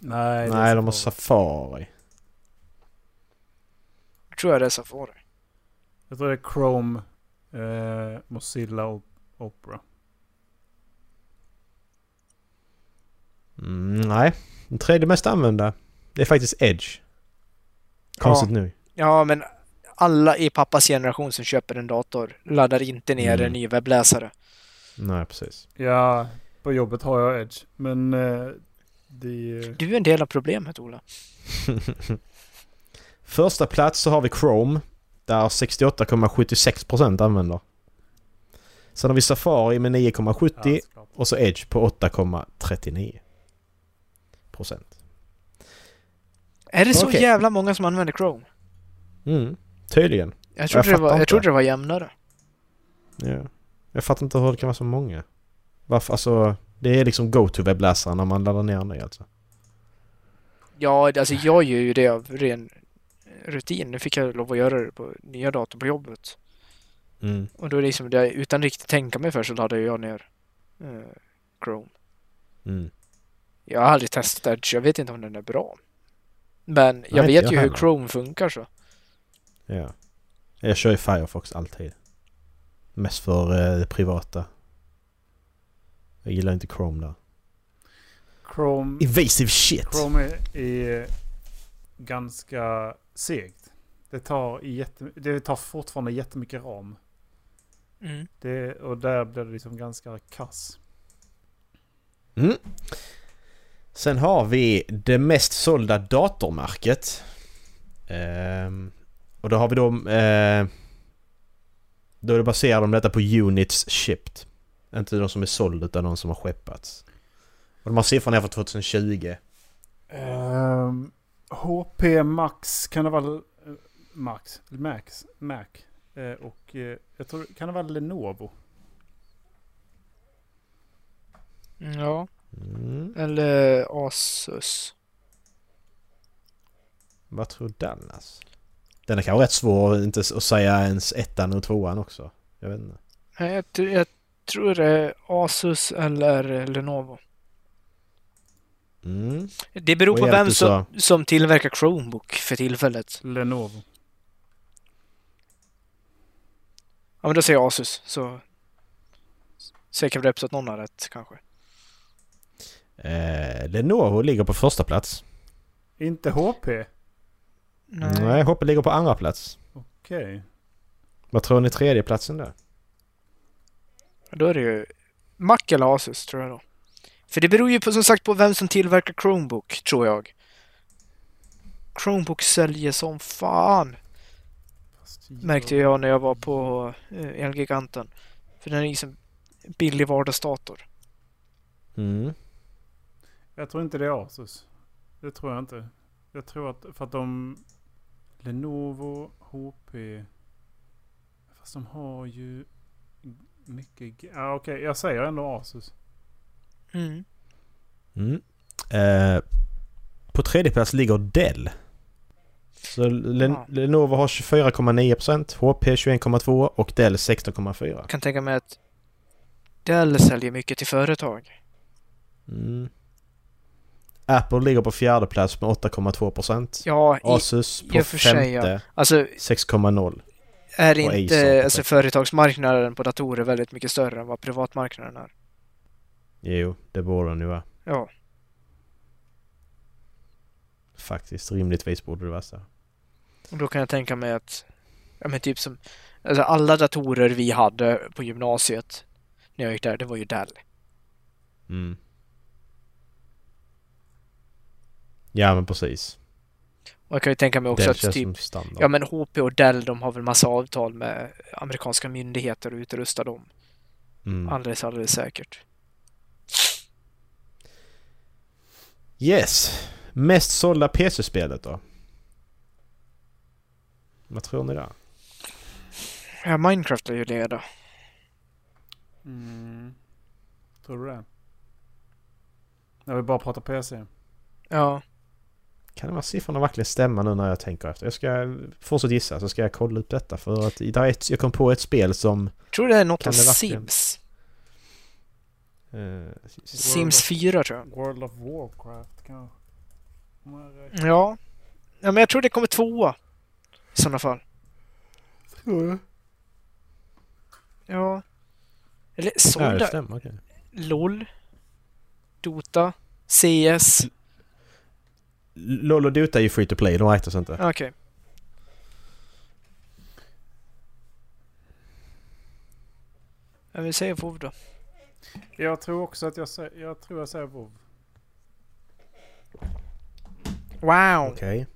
Nej,
Nej, de har Safari.
Jag tror jag det är Safari.
Jag tror det är Chrome, eh, Mozilla och Opera.
Mm, nej, den tredje mest använda. Det är faktiskt Edge. Konstigt nu.
Ja, men alla i pappas generation som köper en dator laddar inte ner
Mm.
en ny webbläsare.
Nej, precis.
Ja, på jobbet har jag Edge. Men eh, det... är-
Du är en del av problemet, Ola.
Första plats så har vi Chrome. Där 68,76% använder. Sen har vi Safari med 9,70
Ja, såklart.
och så Edge på 8,39%. Procent.
Är det så
Okej.
jävla många som använder Chrome?
Mm, tydligen.
Jag trodde, det,
fattar
var, jag
inte.
trodde det var jämnare.
Ja. Jag fattar inte hur det kan vara så många. Varför? Alltså, det är liksom go-to-webbläsaren när man laddar ner en ny alltså.
Ja, det- alltså jag gör ju det av ren eh, rutin. Nu fick jag lov att göra det på nya datorn på jobbet.
Mm.
Och då är det liksom, det, utan riktigt tänka mig för så laddar jag ner eh, Chrome.
Mm.
Jag har aldrig testat Edge, jag vet inte om den är bra. Men jag
inte
vet
jag
ju hur
heller.
Chrome funkar så.
Ja. Jag kör ju Firefox alltid. Mest för eh, det privata. Jag gillar inte Chrome där.
Chrome,
Invasive shit!
Chrome är, är ganska segt. Det tar, i jätte, det tar fortfarande jättemycket ram.
Mm.
Det, och där blir det liksom ganska kass.
Mm. Sen har vi det mest sålda datormärket. Ehm, och då har vi då... Eh, då är det baserat om detta på units shipped. Inte de som är såld utan de som har skeppats. Och de här siffrorna är från 2020.
Ehm, HP Max kan det vara... eh, Max? Max? Mac? Eh, och eh, jag tror... Kan det vara Lenovo?
Ja,
Mm.
eller Asus.
Vad tror Dallas? Den är kanske rätt svår att inte s- att säga ens ettan och tvåan också. Jag vet inte.
Nej, jag, tr- jag tror det är Asus eller Lenovo.
Mm.
Det beror
Och
på
Erik,
vem
du
som,
sa-
som tillverkar Chromebook för tillfället.
Lenovo.
Ja, men då säger jag Asus. Så säkert det att någon har rätt kanske.
Eh, Lenovo ligger på första plats.
Inte HP? Okej.
Nej, Nej HP ligger på andra plats. Vad tror ni tredje platsen där?
Då är det ju Mac eller Asus tror jag då. För det beror ju på, som sagt på vem som tillverkar Chromebook, tror jag. Chromebook säljer som fan,
Fast
märkte jag när jag var på eh, Elgiganten. För den är liksom billig vardagsdator.
Mm.
Jag tror inte det är Asus. Det tror jag inte. Jag tror att för att de... Lenovo, HP... Fast de har ju mycket... g- Ah, Okej, jag säger ändå Asus.
Mm.
Mm. Eh, på tredje plats ligger Dell. Så Len-
Ah.
Lenovo har 24,9% HP 21,2% och Dell 16,4%.
Jag kan tänka mig att Dell säljer mycket till företag.
Mm. Apple ligger på fjärde plats med 8,2%.
Ja, i,
Asus
i
på
och för sig, ja.
femte
alltså
6,0.
är
Och Acer.
inte alltså, företagsmarknaden på datorer väldigt mycket större än vad privatmarknaden är?
Jo, det borde den ju vara.
Ja.
Faktiskt, rimligtvis borde det vara så.
Och då kan jag tänka mig att, ja men typ som, alltså alla datorer vi hade på gymnasiet när jag gick där, det var ju Dell.
Mm. Ja men precis.
Och jag kan ju tänka mig också
det
att
känns
typ,
som standard.
ja men HP och Dell de har väl massa avtal med amerikanska myndigheter och utrustar dem.
mm.
Alldeles, alldeles säkert.
Yes! Mest sålda PC-spelet då? Vad tror ni där?
Ja, Minecraft är ju det då.
Mm. Tror du det? Jag vill bara prata PC.
Ja.
Kan de här siffrorna verkligen stämma nu när jag tänker efter? Jag ska fortsätta gissa så ska jag kolla upp detta för att det är ett, jag kom på ett spel som...
Tror det är något
Kan
av
det verkligen?
Sims.
Eh,
Sims 4 tror jag.
World of Warcraft kanske? Om jag räknar.
Ja. ja men jag tror det kommer tvåa. I sådana fall. Ja. Eller
ja, det
sålda.
stämmer. okej.
LOL. Dota. CS.
Mm. LOL och Dota är ju free to play, de räknas inte.
Okej. Ja, vi säger WoW då.
Jag tror också att jag säger... Jag tror jag säger WoW.
Wow!
Okej.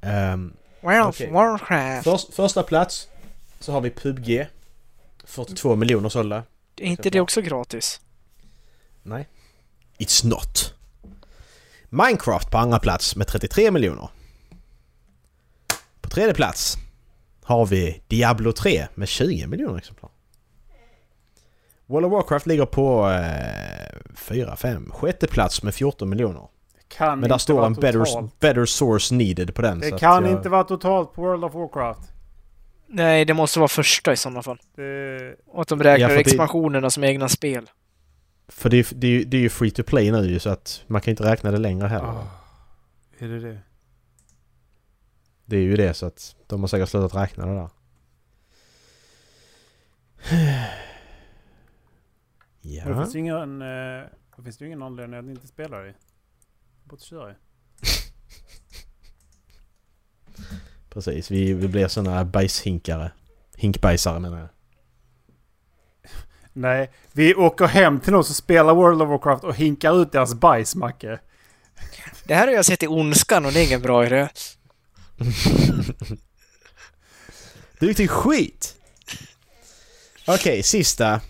Ehm,
Wow,
Okej.
Warcraft!
först, första plats så har vi PubG. 42 miljoner sålda.
Är inte det också gratis?
Nej. It's not. Minecraft på andra plats med 33 miljoner. På tredje plats har vi Diablo 3 med 20 miljoner exemplar. World of Warcraft ligger på eh, 4, 5, sjätte plats med 14 miljoner.
Det kan
Men där
Mm, inte vara
står en better,
totalt.
better source needed på den.
Det
så att
kan
jag-
inte vara totalt på World of Warcraft.
Nej, det måste vara första i sådana fall.
Det...
Och att de räknar
Ja, för det-
expansionerna som egna spel.
För det är, det, är, ju- det är ju free to play nu ju, så att man kan inte räkna det längre heller.
Ah, Är det det?
Det är ju det så att de har säkert slutat räkna det där.
Men Det
Ja.
finns ju ingen, eh, det finns ju ingen anledning att inte spela det. Bort köra det.
Precis, vi, vi blir såna bajshinkare. Hinkbajsare menar jag.
Nej, vi åker hem till någon som spelar World of Warcraft och hinkar ut deras bajs, Macke.
Det här har jag sett i Ondskan och det är ingen bra idé.
[LAUGHS] Du gick till skit! Okej, sista.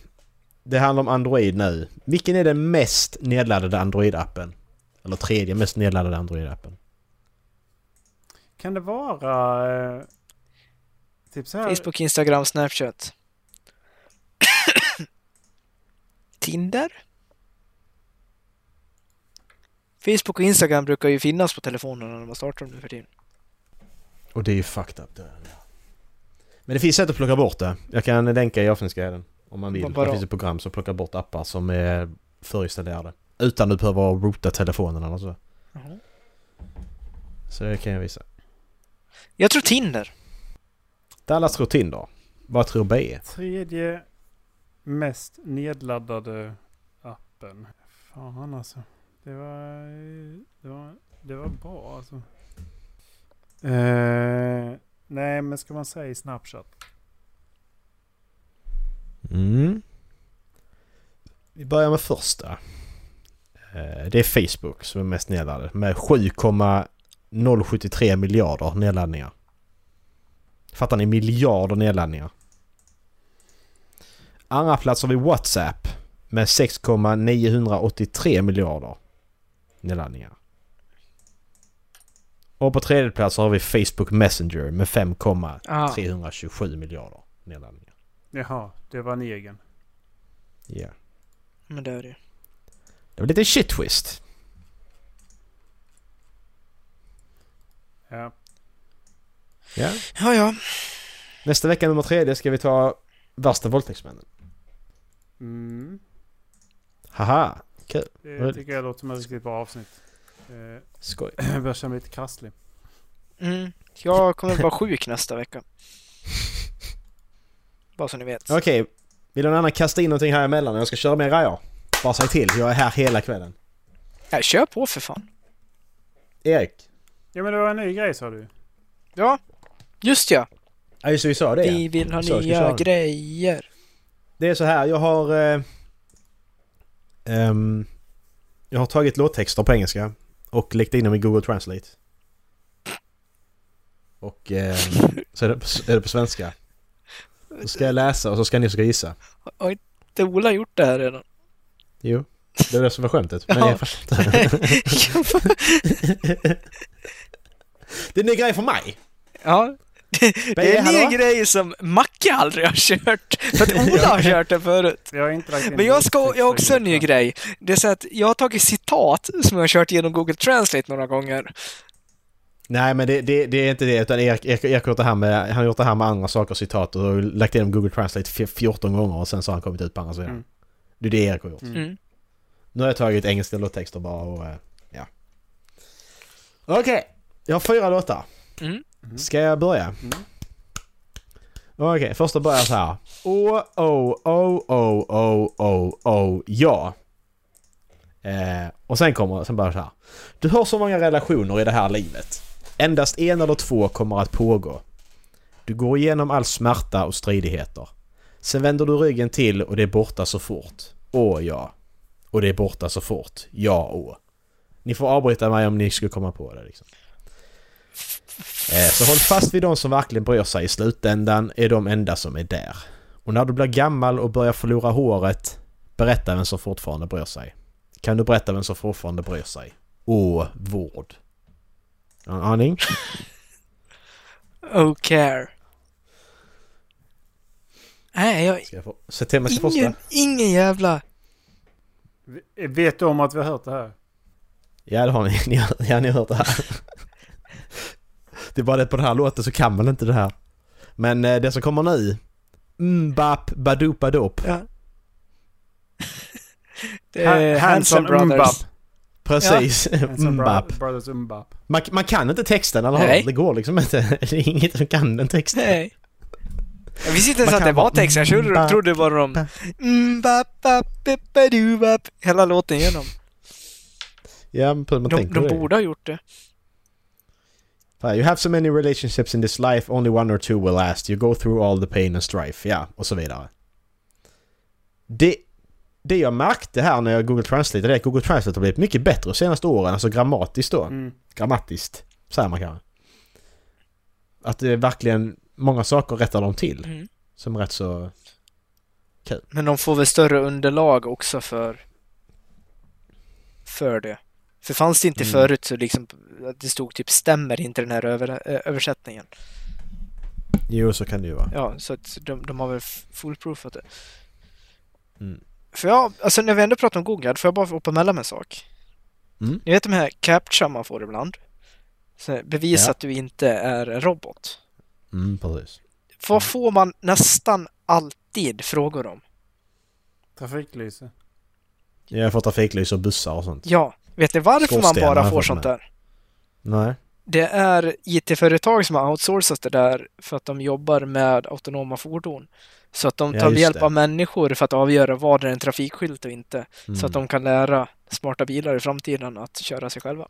Det handlar om Android nu. Vilken är den mest nedladdade Android-appen? Eller tredje mest nedladdade Android-appen?
Kan det vara... Eh, typ så här...
Facebook, Instagram, Snapchat. [COUGHS] Tinder? Facebook och Instagram brukar ju finnas på telefonerna när man startar dem nu för tiden.
Och det är ju fucked up det. där. Men det finns sätt att plocka bort det. Jag kan länka i avsnittsguiden om man vill.
Vad- vadå?
Det finns ett program som plockar bort appar som är förinstallerade. Utan att behöva rota telefonen eller så.
Jaha.
Så det kan jag visa.
Jag tror Tinder.
Dallas tror Tinder. Vad tror B?
Tredje mest nedladdade appen. Fan alltså. Det var... eh, Det var, det var bra alltså. Eh, nej, men ska man säga Snapchat?
Mm. Vi börjar med första. Eh, Det är Facebook som är mest nedladdad med 7,073 miljarder nedladdningar. Fattar ni? Miljarder nedladdningar. Andra plats har vi WhatsApp med 6,983 miljarder nedladdningar. Och på tredje plats har vi Facebook Messenger med 5,327
Ah.
miljarder nedladdningar.
Jaha, det var en egen.
Ja.
Men det är det.
Det var lite shit twist.
Ja.
Ja.
Ja, ja.
Nästa vecka nummer tredje ska vi ta värsta våldtäktsmännen.
Mm.
Haha, kul.
Det
Roligt.
tycker jag låter som ett riktigt bra avsnitt. Eh, [CLEARS THROAT]
Skoj.
jag börjar känna mig lite krasslig.
Mm. Jag kommer vara sjuk nästa vecka. Bara så ni vet.
Okej, vill någon annan kasta in någonting här emellan? Jag ska köra mer grejer. Bara säg till, jag är här hela kvällen.
Nej, kör på för fan.
Erik?
Ja men det var en ny grej sa du.
Ja. Just ja.
Ja just det, vi sa det
Vi
ja.
vill ha
Så, ska vi
nya
köra?
grejer.
Det är så här, jag har... Eh, ehm, jag har tagit låttexter på engelska och läckt in dem i Google Translate. Och eh, så är det, på- är det på svenska. Så ska jag läsa och så ska ni försöka gissa.
Har inte Ola gjort det här redan?
Jo, det var det som var skämtet. Men
Ja.
jag [LAUGHS] fattar inte. Det är en ny grej för mig!
Ja. Det är en ny grej som Macke aldrig har kört. För att
[LAUGHS]
Ola har kört den förut.
Jag har inte lagt in
Men jag ska
lagtext
jag har också en ny
riktigt.
grej. Det är så att jag har tagit citat som jag har kört genom Google Translate några gånger.
Nej men det, det, det är inte det utan Erik, Erik, Erik har gjort det här med, han har gjort det här med andra saker, citat och lagt igenom Google Translate fj- 14 gånger och sen så har han kommit ut på andra sidan.
Mm.
Det är det Erik har gjort.
Mm.
Mm.
Nu har jag tagit engelska låttexter bara och eh, ja. Okej, jag har fyra låtar.
Mm.
Ska jag börja? Okej, första börjar så här. Åh, åh, åh, åh, åh, åh, åh, ja. Eh, och sen kommer, sen börjar så här. Du har så många relationer i det här livet. Endast en eller två kommer att pågå. Du går igenom all smärta och stridigheter. Sen vänder du ryggen till och det är borta så fort. Åh ja. Och det är borta så fort. Ja åh. Ni får avbryta mig om ni skulle komma på det liksom. Eh, Så håll fast vid de som verkligen bryr sig. I slutändan är de enda som är där. Och när du blir gammal och börjar förlora håret, berätta vem som fortfarande bryr sig. Kan du berätta vem som fortfarande bryr sig? Åh, vård. Någon aning?
Oh care. Nej, jag har
Ska jag få... Se till mig till första.
ingen, ingen jävla...
Vet du om att vi har hört det här?
Ja, det har [LAUGHS] ni. ni har, ja, ni har hört det här. det är bara det på den här låten så kan man inte det här. Men eh, det som kommer nu... Mbap badoop [LAUGHS]
Ja. Det
Ha-
är Eh, Hanson Brothers.
Umbap.
Precis.
Hanson
Mbap.
Bro- Brothers Umbap.
Man, man kan inte texten, eller hur?
Nej.
Det går liksom inte. [LAUGHS] Det är inget som kan den texten.
Nej. Jag visste inte ens
Man
att det
kan
var
bara-
text. Jag trodde,
Ba-
trodde det var de...
ba-
Mm, ba- ba- ba- ba- du- ba- Hela låten igenom.
Ja, men man
De,
tänker det.
de borde ha gjort det.
Fan, You have so many relationships in this life, only one or two will last. You go through all the pain and strife. Ja, och så vidare. Det, det jag märkte här när jag Google Translate, det är att Google Translate har blivit mycket bättre de senaste åren, alltså grammatiskt då.
Mm.
Grammatiskt, säger man kanske. Att det är verkligen många saker rättar de till,
Mm.
som rätt så...
Men de får väl större underlag också för... För det. För fanns det inte
Mm.
förut så liksom... att Det stod typ stämmer inte den här över, ö- översättningen.
Jo, så kan det ju vara.
Ja, så att de, de har väl f- foolproofat det.
Mm.
För jag, alltså när vi ändå pratar om Google, får jag bara hoppa emellan med en sak?
Mm.
Ni vet de här captcha man får ibland? Så här, bevis
Ja.
att du inte är en robot.
Mm, precis.
Vad
Mm.
får man nästan alltid frågor om?
Trafiklyse.
Jag får trafiklys och bussar och sånt.
Ja, vet ni varför man
Skorstenar
bara
har
får
jag
sånt
fått med.
där?
Nej.
Det är IT-företag som har outsourcat det där för att de jobbar med autonoma fordon. Så att de
Ja,
tar
just
hjälp
det.
av människor för att avgöra vad är en trafikskylt och inte.
Mm.
Så att de kan lära smarta bilar i framtiden att köra sig själva.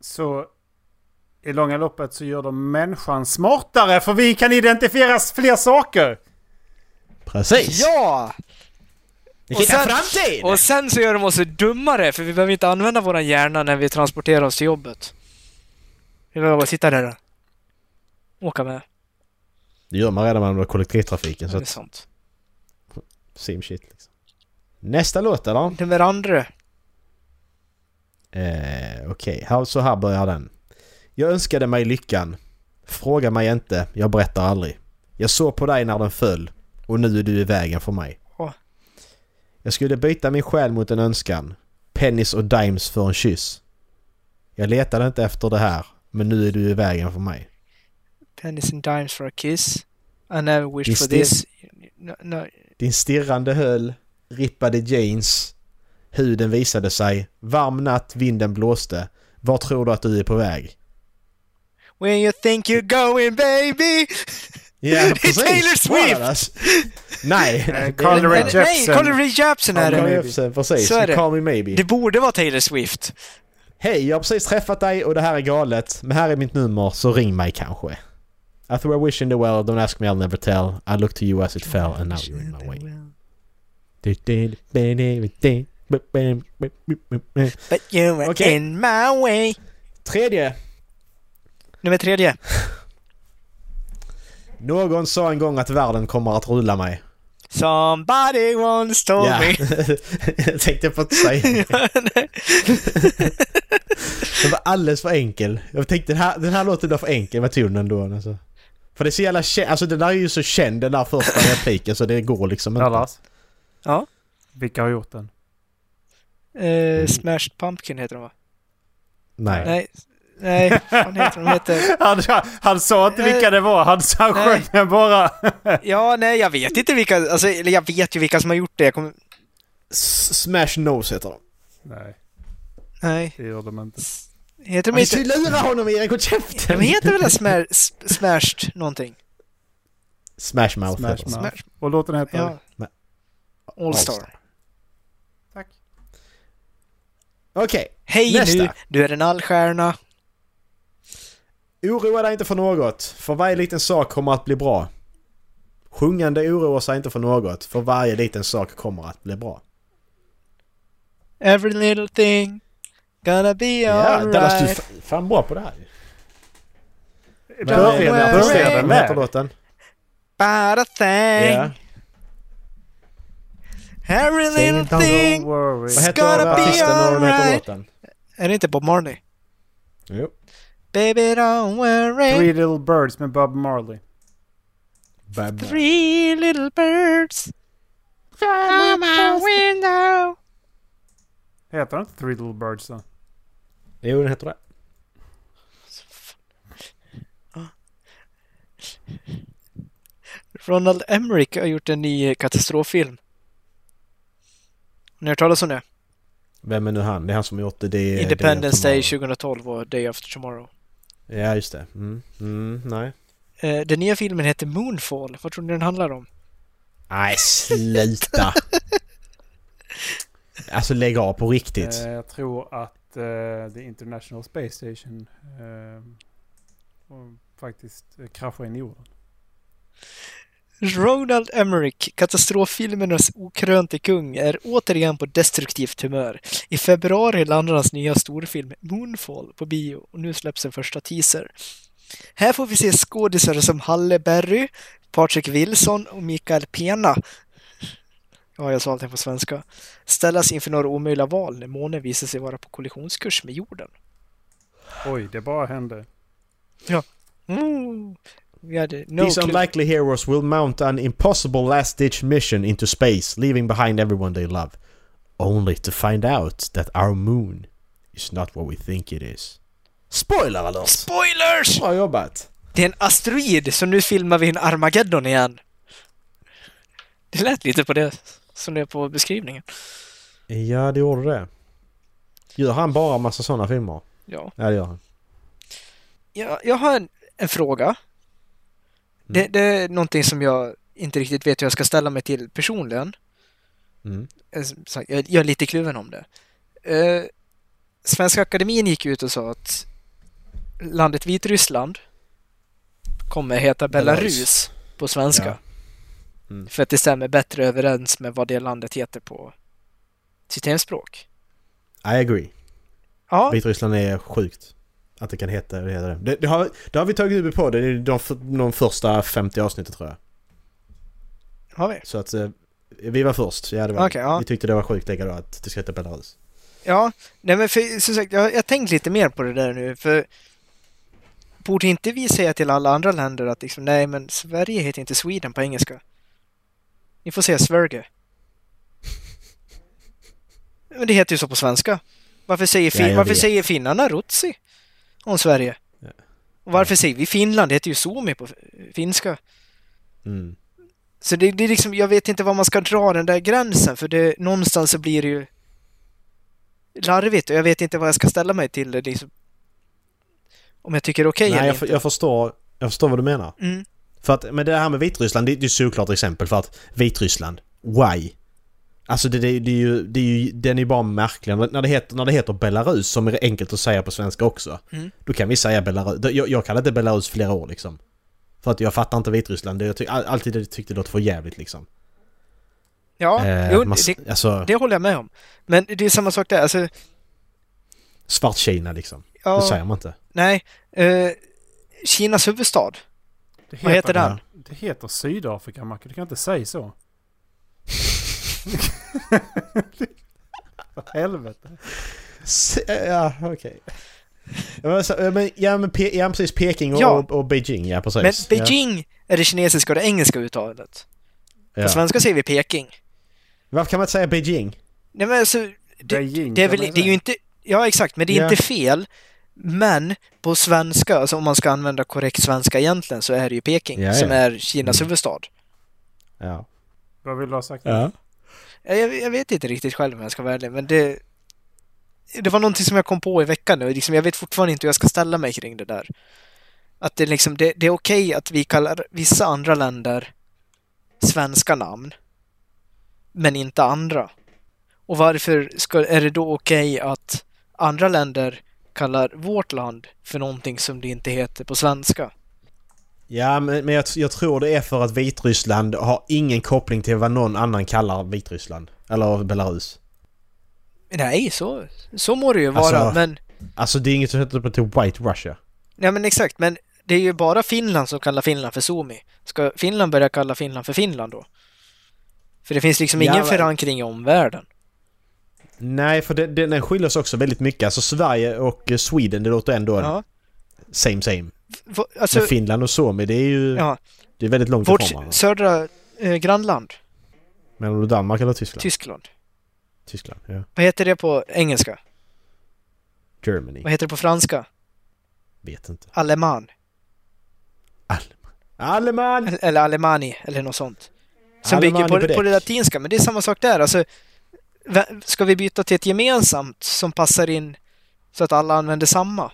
Så i långa loppet så gör de människan smartare för vi kan identifiera fler saker.
Precis!
Ja!
Vilken
Och sen-
framtid!
Och sen så gör de oss dummare för vi behöver inte använda våran hjärna när vi transporterar oss till jobbet. Vi behöver bara sitta där och åka med.
Det gör man redan med den där kollektivtrafiken så
Eller
att...
sånt.
Same shit liksom. Nästa låt eller?
Nummer andra.
Eh, Okej, här- så här börjar den. Jag önskade mig lyckan. Fråga mig inte, jag berättar aldrig. Jag såg på dig när den föll och nu är du i vägen för mig.
Åh.
Jag skulle byta min själ mot en önskan. Pennies och dimes för en kyss. Jag letade inte efter det här, men nu är du i vägen för mig.
Pennies and dimes for a kiss. I never wished
Visst
for
det-
this. No, no.
Din stirrande höll, rippade jeans, huden visade sig, varm natt, vinden blåste. Var tror du att du är på väg?
When you think you're going baby!
Ja,
precis. Taylor Swift!
Wallace. Nej!
Eh, Carl
det är-
Ray
Nej, nej,
Jepsen.
Carl Ray Jepsen är
Carl
det.
Ray
Maybe.
Jepsen, precis.
Så är det.
Call me maybe.
Det borde vara Taylor Swift.
Hej, jag har precis träffat dig och det här är galet, men här är mitt nummer, så ring mig kanske. I threw a wish in the world, don't ask me I'll never tell. I looked to you as it fell and now you're in my way.
But you were
Okej.
in my way.
Tredje!
Nummer tredje.
Någon sa en gång att världen kommer att rulla mig.
Somebody once told
Ja. [LAUGHS]
me.
jag tänkte på att säga det. Den var alldeles för enkel. Jag tänkte den här, den här låten var för enkel. Vad tog den då? Alltså. För det är så jävla känd, alltså den där är ju så känd den där första repliken så det går liksom inte.
Ja, Lars.
Ja.
Vilka har gjort den?
[LAUGHS] Eh, Smashed Pumpkin heter de va?
Nej.
Nej. Nej, vad fan heter de? de? Heter...
Han, han sa inte vilka det var, han, han
Eh. Nej.
sjöng den bara. [LAUGHS]
Ja, nej, jag vet inte vilka, alltså, eller jag vet ju vilka som har gjort det. Jag kommer...
S- Smash Nose heter de.
Nej,
Nej.
det gör de inte.
Heter de
Men inte...
inte...
lura honom Erik, håll
De
käften!
heter väl smär... s- Smashed någonting?
[LAUGHS] Smash Mouth
Smash
heter de.
Mouth.
Smash.
Och låten heter?
Ja.
Men-
Allstar.
Tack.
Okej,
Hej
Nästa.
nu, du är en allstjärna.
oroa dig inte för något, för varje liten sak kommer att bli bra. Sjungande oroar sig inte för något, för varje liten sak kommer att bli bra.
Every little thing gonna be alright.
Dallas, du är fa- fan bra på det här ju.
Börja
eh,
med att
börja
prestera den
Vad heter
med.
låten?
But a thing.
Ja.
Every little
Don't
thing.
worry.
Vad heter
Gotta be
artisten och vad heter
alright.
låten?
Är det inte Bob Marley?
Jo.
Baby don't worry.
Three Little Birds med Bob Marley.
Bam.
Three little birds. From my window.
Heter den inte Three Little Birds då?
Jo, den heter det.
Ronald Emmerich har gjort en ny katastroffilm. Har ni hört talas om det?
Vem är nu han? Det är han som gjort det. det är-
Independence
det är
Day
Tomorrow.
2012 och Day After Tomorrow.
Ja, just det. Mm. Mm, nej.
Eh, den nya filmen heter Moonfall. Vad tror ni den handlar om?
Nej, sluta! alltså lägg av på riktigt.
Eh, jag tror att eh, The International Space Station eh, och faktiskt eh, kraschar in i jorden.
Ronald Emmerich, katastroffilmernas okrönte kung, är återigen på destruktivt humör. I februari landar hans nya storfilm Moonfall på bio och nu släpps en första teaser. Här får vi se skådisar som Halle Berry, Patrick Wilson och Mikael Pena. Ja, jag sa allting på svenska. Ställas inför några omöjliga val när månen visar sig vara på kollisionskurs med jorden.
Oj, det bara hände.
Mm. Vi hade no
These
clue.
unlikely heroes will mount an impossible last-ditch mission into space, leaving behind everyone they love. Only to find out that our moon is not what we think it is. Spoiler alert!
Spoilers!
Bra jobbat!
Det är en asteroid, så nu filmar vi en Armageddon igen. Det lät lite på det som det är på beskrivningen.
Ja, det gjorde det. Gör han bara massa sådana filmer?
Ja.
Ja, det gör han.
Jag, jag har en, en fråga. Det, det är någonting som jag inte riktigt vet hur jag ska ställa mig till personligen.
Mm.
Eh, som sagt, Jag, jag är lite kluven om det. Eh, Svenska Akademien gick ut och sa att landet Vitryssland kommer heta Belarus,
Belarus.
på svenska.
Mm.
För att det stämmer bättre överens med vad det landet heter på sitt hemspråk.
I agree.
Ja,
Vitryssland är sjukt. Att det kan heta det. Heter det. Det, det, har, det har vi tagit upp i podden i de, f- de första 50 avsnitten tror jag.
har vi.
Så att eh, vi var först. Ja, det var.
Okej, ja.
Vi tyckte det var sjukt lika då att det ska heta Belarus.
Ja, nej men för, som sagt, jag jag har tänkt lite mer på det där nu, för borde inte vi säga till alla andra länder att liksom, nej men Sverige heter inte Sweden på engelska. Ni får säga Sverige. [LAUGHS] Men det heter ju så på svenska. Varför säger,
Ja,
fin-
jag
varför
vet.
säger finnarna Rutsi om Sverige?
Ja.
Och varför säger vi Finland? Det heter ju Suomi på eh, finska.
Mm.
Så det, det är liksom, jag vet inte var man ska dra den där gränsen för det, någonstans så blir det ju larvigt och jag vet inte vad jag ska ställa mig till det liksom. Om jag tycker det är okej
Nej,
eller
jag,
inte.
för- jag, förstår, jag förstår vad du menar.
Mm.
För att, men det här med Vitryssland, det, det är ju såklart exempel för att Vitryssland, why? Alltså det, det, det, är, ju, det är ju, den är ju bara märklig. När det, heter, när det heter Belarus, som är enkelt att säga på svenska också,
Mm.
då kan vi säga Belarus. Då- Jag, jag kallar det Belarus flera år liksom. För att jag fattar inte Vitryssland. Det- Jag ty, all- alltid det tyckte det låter för jävligt liksom.
Ja,
Eh,
jo,
man,
det,
alltså,
det håller jag med om. Men det är samma sak där. Alltså,
Svartkina liksom.
ja,
Det säger man inte.
nej. Eh, Kinas huvudstad.
Det
Vad heter den?
Det heter Sydafrika, Macke. Du kan inte säga så. För helvete.
S- eh, Ja, okej. Ja, men så- ja, men, ja, men Pe- ja, precis. Peking och,
Ja.
och, och Beijing, ja precis.
Men Beijing är det kinesiska och det engelska uttalet.
Ja.
På
Ja.
svenska säger vi Peking.
Varför kan man inte säga Beijing?
Nej men alltså, det,
Beijing,
det, är,
kan
väl,
man
det är
säga.
ju inte... Ja, exakt, men det är
Ja.
inte fel. Men på svenska, alltså om man ska använda korrekt svenska egentligen, så är det ju Peking
Ja, Mm. ja.
som är Kinas huvudstad.
Ja.
Vad vill du ha sagt?
Ja, Jag, jag vet inte riktigt själv om jag ska vara ärlig, men det... Det var någonting som jag kom på i veckan nu. Liksom, jag vet fortfarande inte hur jag ska ställa mig kring det där. Att det, liksom, det, det är okej att vi kallar vissa andra länder svenska namn, men inte andra. Och varför ska, är det då okej att andra länder kallar vårt land för någonting som det inte heter på svenska?
Ja, men, men jag, jag tror det är för att Vitryssland har ingen koppling till vad någon annan kallar Vitryssland. Eller Belarus.
Nej, så, så må det ju vara,
Alltså-
men...
Alltså det är inget som heter på till White Russia.
Nej men exakt, men det är ju bara Finland som kallar Finland för Suomi. Ska Finland börja kalla Finland för Finland då? För det finns liksom ingen
Ja, men-
förankring i omvärlden.
Nej, för den, den den skiljer sig också väldigt mycket. Alltså Sverige och eh, Sweden, det låter ändå
Ja.
same same.
V-
Men
Alltså,
Finland och Suomi, det är ju...
ja.
Det är väldigt långt
Vårt
ifrån varandra.
södra eh, grannland,
Menar du Danmark eller Tyskland?
Tyskland.
Tyskland, ja.
Vad heter det på engelska?
Germany.
Vad heter det på franska?
Vet inte.
Aleman.
Alleman. Alleman!
Eller- Eller alemani, eller något sånt. Alltså, Som
Alemanni
bygger på, det- på det
Breck.
latinska, men det är samma sak där. Alltså, vä- ska vi byta till ett gemensamt som passar in så att alla använder samma?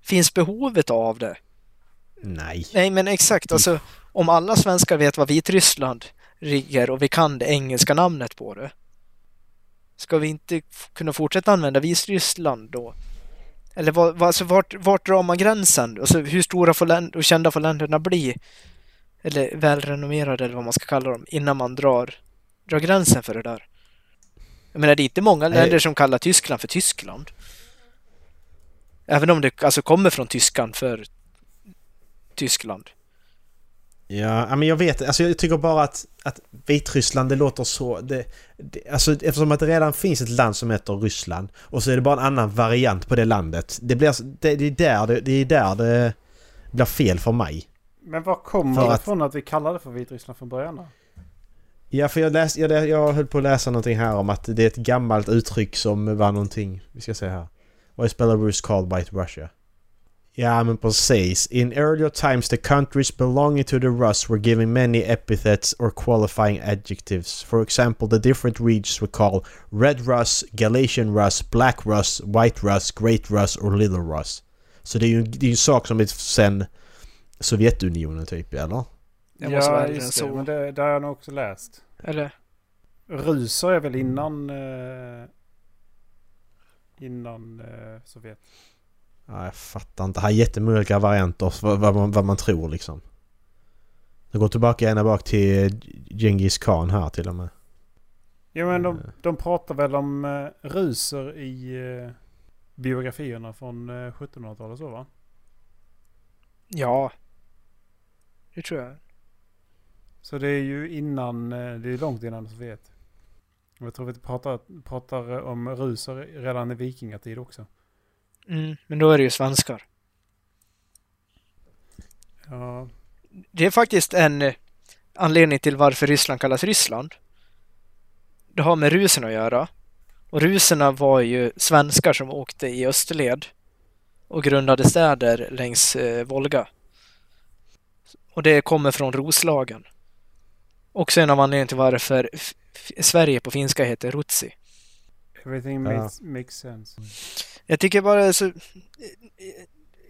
Finns behovet av det?
Nej.
Nej, men exakt. Alltså, om alla svenskar vet vad Vitryssland ligger och vi kan det engelska namnet på det, ska vi inte f- kunna fortsätta använda Vitryssland då? Eller vad, vad, alltså, vart, vart drar man gränsen? Alltså, hur stora får län- och kända får länderna bli? Eller välrenommerade, eller vad man ska kalla dem, innan man drar, drar gränsen för det där? Jag menar, det är inte många
Nej.
länder som kallar Tyskland för Tyskland. Även om det alltså kommer från tyskan för Tyskland.
Ja, ja, men jag vet Alltså jag tycker bara att, att Vitryssland, det låter så... Det, det, alltså eftersom att det redan finns ett land som heter Ryssland och så är det bara en annan variant på det landet. Det blir... alltså- Det, det, är, där det, det är där det blir fel för mig.
Men var kommer
För
det
att-
ifrån att vi kallade det för Vitryssland från början då?
Ja, för jag, läs, jag, lä- jag höll på att läsa någonting här om att det är ett gammalt uttryck som var någonting. Vi ska se här. Why is Belarus called White Russia? Ja, men precis. In earlier times the countries belonging to the Rus were given many epithets or qualifying adjectives. For example, the different regions were called Red Rus, Galatian Rus, Black Rus, White Rus, Great Rus or Little Rus. Så det är ju det är ju en sak som är sen Sovjetunionen typ, eller?
Jag måste vara äldre än
just det.
så.
Men det, det har jag nog också läst.
Eller?
Ryser är väl innan... Eh, innan eh, Sovjet.
Ja, jag fattar inte. Här är jättemånga olika varianter för vad, man, vad man tror liksom. Det går tillbaka ända bak till Genghis Khan här till och med.
Jo men de,
Mm.
de pratar väl om eh, ryser i eh, biografierna från eh, 1700-talet så va?
Ja. Det tror jag.
Så det är ju innan, eh, det är långt innan Sovjet. Och jag tror vi pratar, pratar om ryser redan i vikingatid också.
Mm, men då är det ju svenskar.
Ja,
Det är faktiskt en eh, anledning till varför Ryssland kallas Ryssland. Det har med ruserna att göra. Och ruserna var ju svenskar som åkte i österled och grundade städer längs eh, Volga. Och det kommer från Roslagen. Också en av anledningarna till varför f- f- Sverige på finska heter Rutsi.
everything
Ja.
makes, makes sense.
Jag tycker bara det är så eh, eh,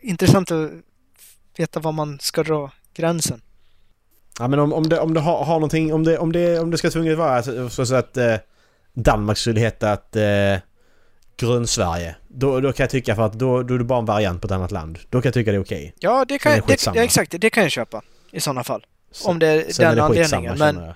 intressant att veta var man ska dra gränsen.
Ja men om, om, det, om det har, har någonting, om det, om det, om det ska tvunget vara så, så, så att eh, Danmark skulle heta att eh, Grönsverige. Då, då kan jag tycka för att då, då är det bara en variant på ett annat land. Då kan jag tycka det är okej.
Ja, det kan
Men det är
jag, det,
skitsamma.
ja, exakt, det kan jag köpa i sådana fall.
Så-
Om det är
Sen
den
är det skitsamma
anledningen. Men
känner jag.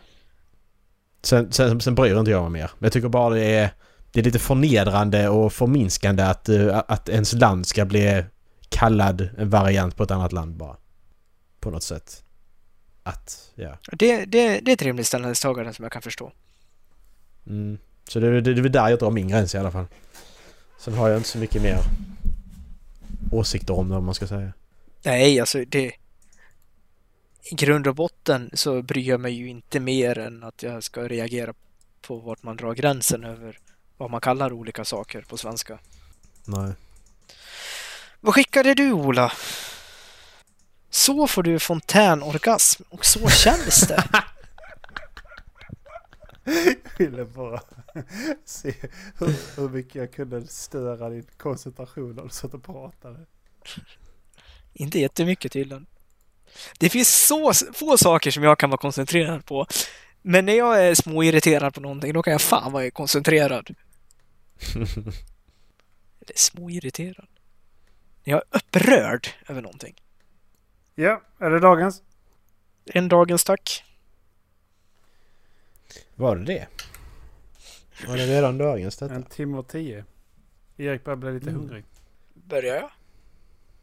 Sen, sen, sen bryr inte jag mig mer. Men jag tycker bara det är, det är lite förnedrande och förminskande att, eh, att ens land ska bli kallad en variant på ett annat land bara. På något sätt. Att, ja.
det, det, det är ett rimligt ställningstagande som jag kan förstå.
Mm. Så det, det, det är väl där jag drar min gräns i alla fall. Sen har jag inte så mycket mer åsikter om det om man ska säga.
Nej, alltså det... I grund och botten så bryr jag mig ju inte mer än att jag ska reagera på vart man drar gränsen över vad man kallar olika saker på svenska.
Nej.
Vad skickade du, Ola? Så får du fontänorgasm och så känns det.
Jag ville bara [LAUGHS] se hur, hur mycket jag kunde störa din koncentration när du satt och pratade.
Inte jättemycket tydligen. Det finns så s- få saker som jag kan vara koncentrerad på. Men när jag är småirriterad på någonting, då kan jag fan vara koncentrerad. Eller småirriterad. När jag är upprörd över någonting.
Ja, är det dagens?
En dagens tack.
Var det det? Var det redan dagens detta?
En timme och tio. Erik börjar bli lite
Mm.
hungrig.
Börjar jag?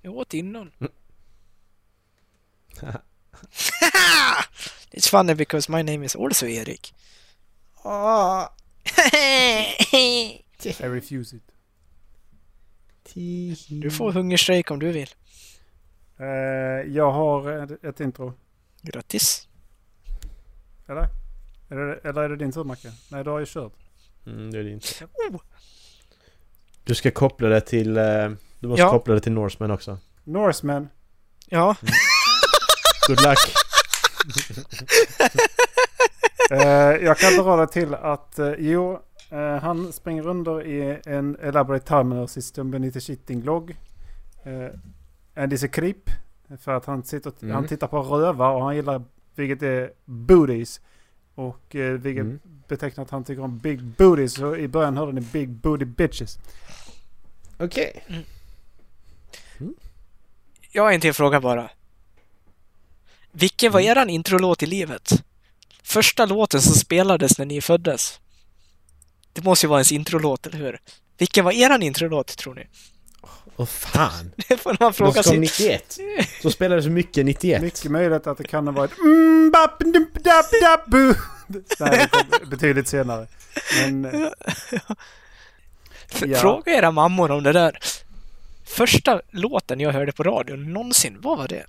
Jag åt innan. [LAUGHS] It's funny because my name is also Erik.
Ah,
I refuse it.
tihi.
Du får hungerstrejk om du vill.
Eh, jag har ett- ett intro.
Grattis.
Eller? Eller, eller är det din tur Macke? Nej, du har ju kört.
Mm, det är det inte.
Oh,
Du ska koppla det till... eh, Du måste
Ja.
koppla det till Norseman också.
Norseman.
ja,
Good
[LAUGHS]
luck!
Eh, jag kan dra det till att eh, jo, eh, han springer under i en elaborate terminal system beneath a shitting log. Eh, and is a creep. För att han, sitter,
Mm.
han tittar på rövar och han gillar, vilket är booties. Och eh, vilket
Mm.
betecknar att han tycker om big booties. Så i början hörde ni big booty bitches.
Okej.
jag har en till fråga bara. Vilken var eran introlåt i livet? Första låten som spelades när ni föddes. Det måste ju vara ens introlåt, eller hur? Vilken var eran introlåt, tror ni? [LAUGHS]
Åh fan!
Det får man
De
[LAUGHS] fråga
som
sig.
91. Så spelade så mycket 91.
Mycket möjligt att det kan ha varit mm, bap, dump, dap, dap, bu. Nej, det kom [LAUGHS] betydligt senare. Men eh, Ja.
Fråga era mammor om det där. Första låten jag hörde på radion någonsin, vad var det?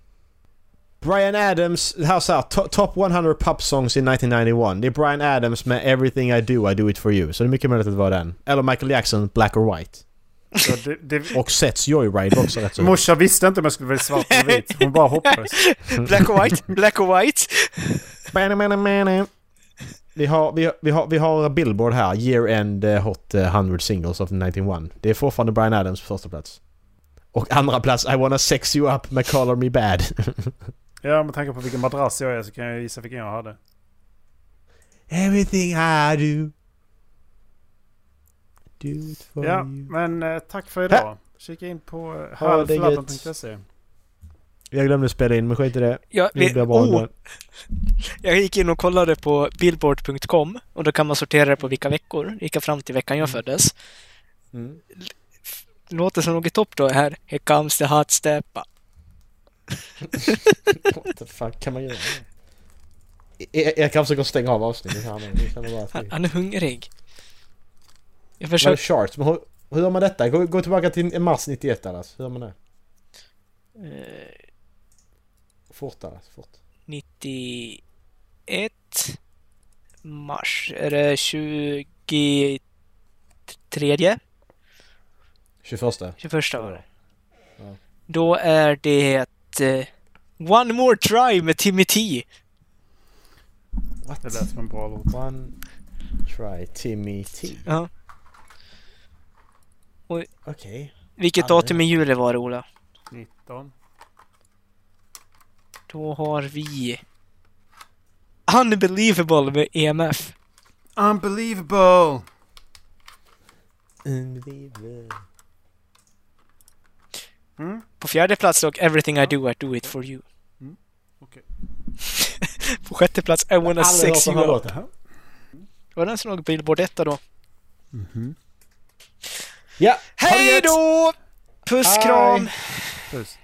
Brian Adams, här såhär, to- top 100 pop songs in 1991. Det är Brian Adams med “Everything I do, I do it for you”. Så det är mycket möjligt att det var den. Eller Michael Jackson, “Black or White”.
så det, det,
Och Sets Joyride också
[LAUGHS]
rätt så.
Morsan visste inte om jag skulle bli svart och vit. Hon bara hoppades.
Black or white? Black or white?
Vi har, vi, har- vi, har, vi har Billboard här, Year End eh, Hot eh, 100 Singles of 1991. Det är fortfarande Brian Adams på första plats. Och andra plats, I wanna sex you up med Color Me Bad.
Ja, med tanke på vilken madrass jag är så kan jag gissa vilken jag hade.
Everything I do. Do it for
Ja,
you.
men eh, tack för idag. Kika in på eh,
Ha det gött.
halvflabben.se.
Jag glömde spela in, men skit i det.
Jag,
Nu
vi,
blir jag bara
oh, jag gick in och kollade på billboard.com och då kan man sortera det på vilka veckor. Gick fram till veckan jag föddes.
mm.
Låter som något topp då här. Here comes the hot steppa.
What the fuck, kan man göra det? Jag, jag kan försöka stänga av avsnittet här nu. Jag känner bara att
[LAUGHS] Han,
vi-
han är hungrig. Jag
Men
försöker...
charts, men hur, hur gör man detta? Gå, gå tillbaka till mars 91 Dallas. Hur gör man det?
Eh,
Fort Dallas, fort.
91 mars. Är det 23? 21
21.
var det.
Ja.
Då är det eh, One More Try med Timmy T.
What?
Det lät som en bra låt.
One try Timmy T.
Ja.
Okej.
Vilket
Ja, det-
datum i juli var det, Ola?
19.
Då har vi Unbelievable med E EMF.
Unbelievable!
Unbelievable.
Mm,
På fjärde plats dock Everything I Do I Do It For You.
Mm, okej.
[LAUGHS] på sjätte plats I Wanna
Aldrig hört
Sex
den
You
här
Up.
låten.
Det var den som låg på Billboard 1 då.
Ja, ha det
Hej
gött!
då! Puss,
Hej.
kram!
puss.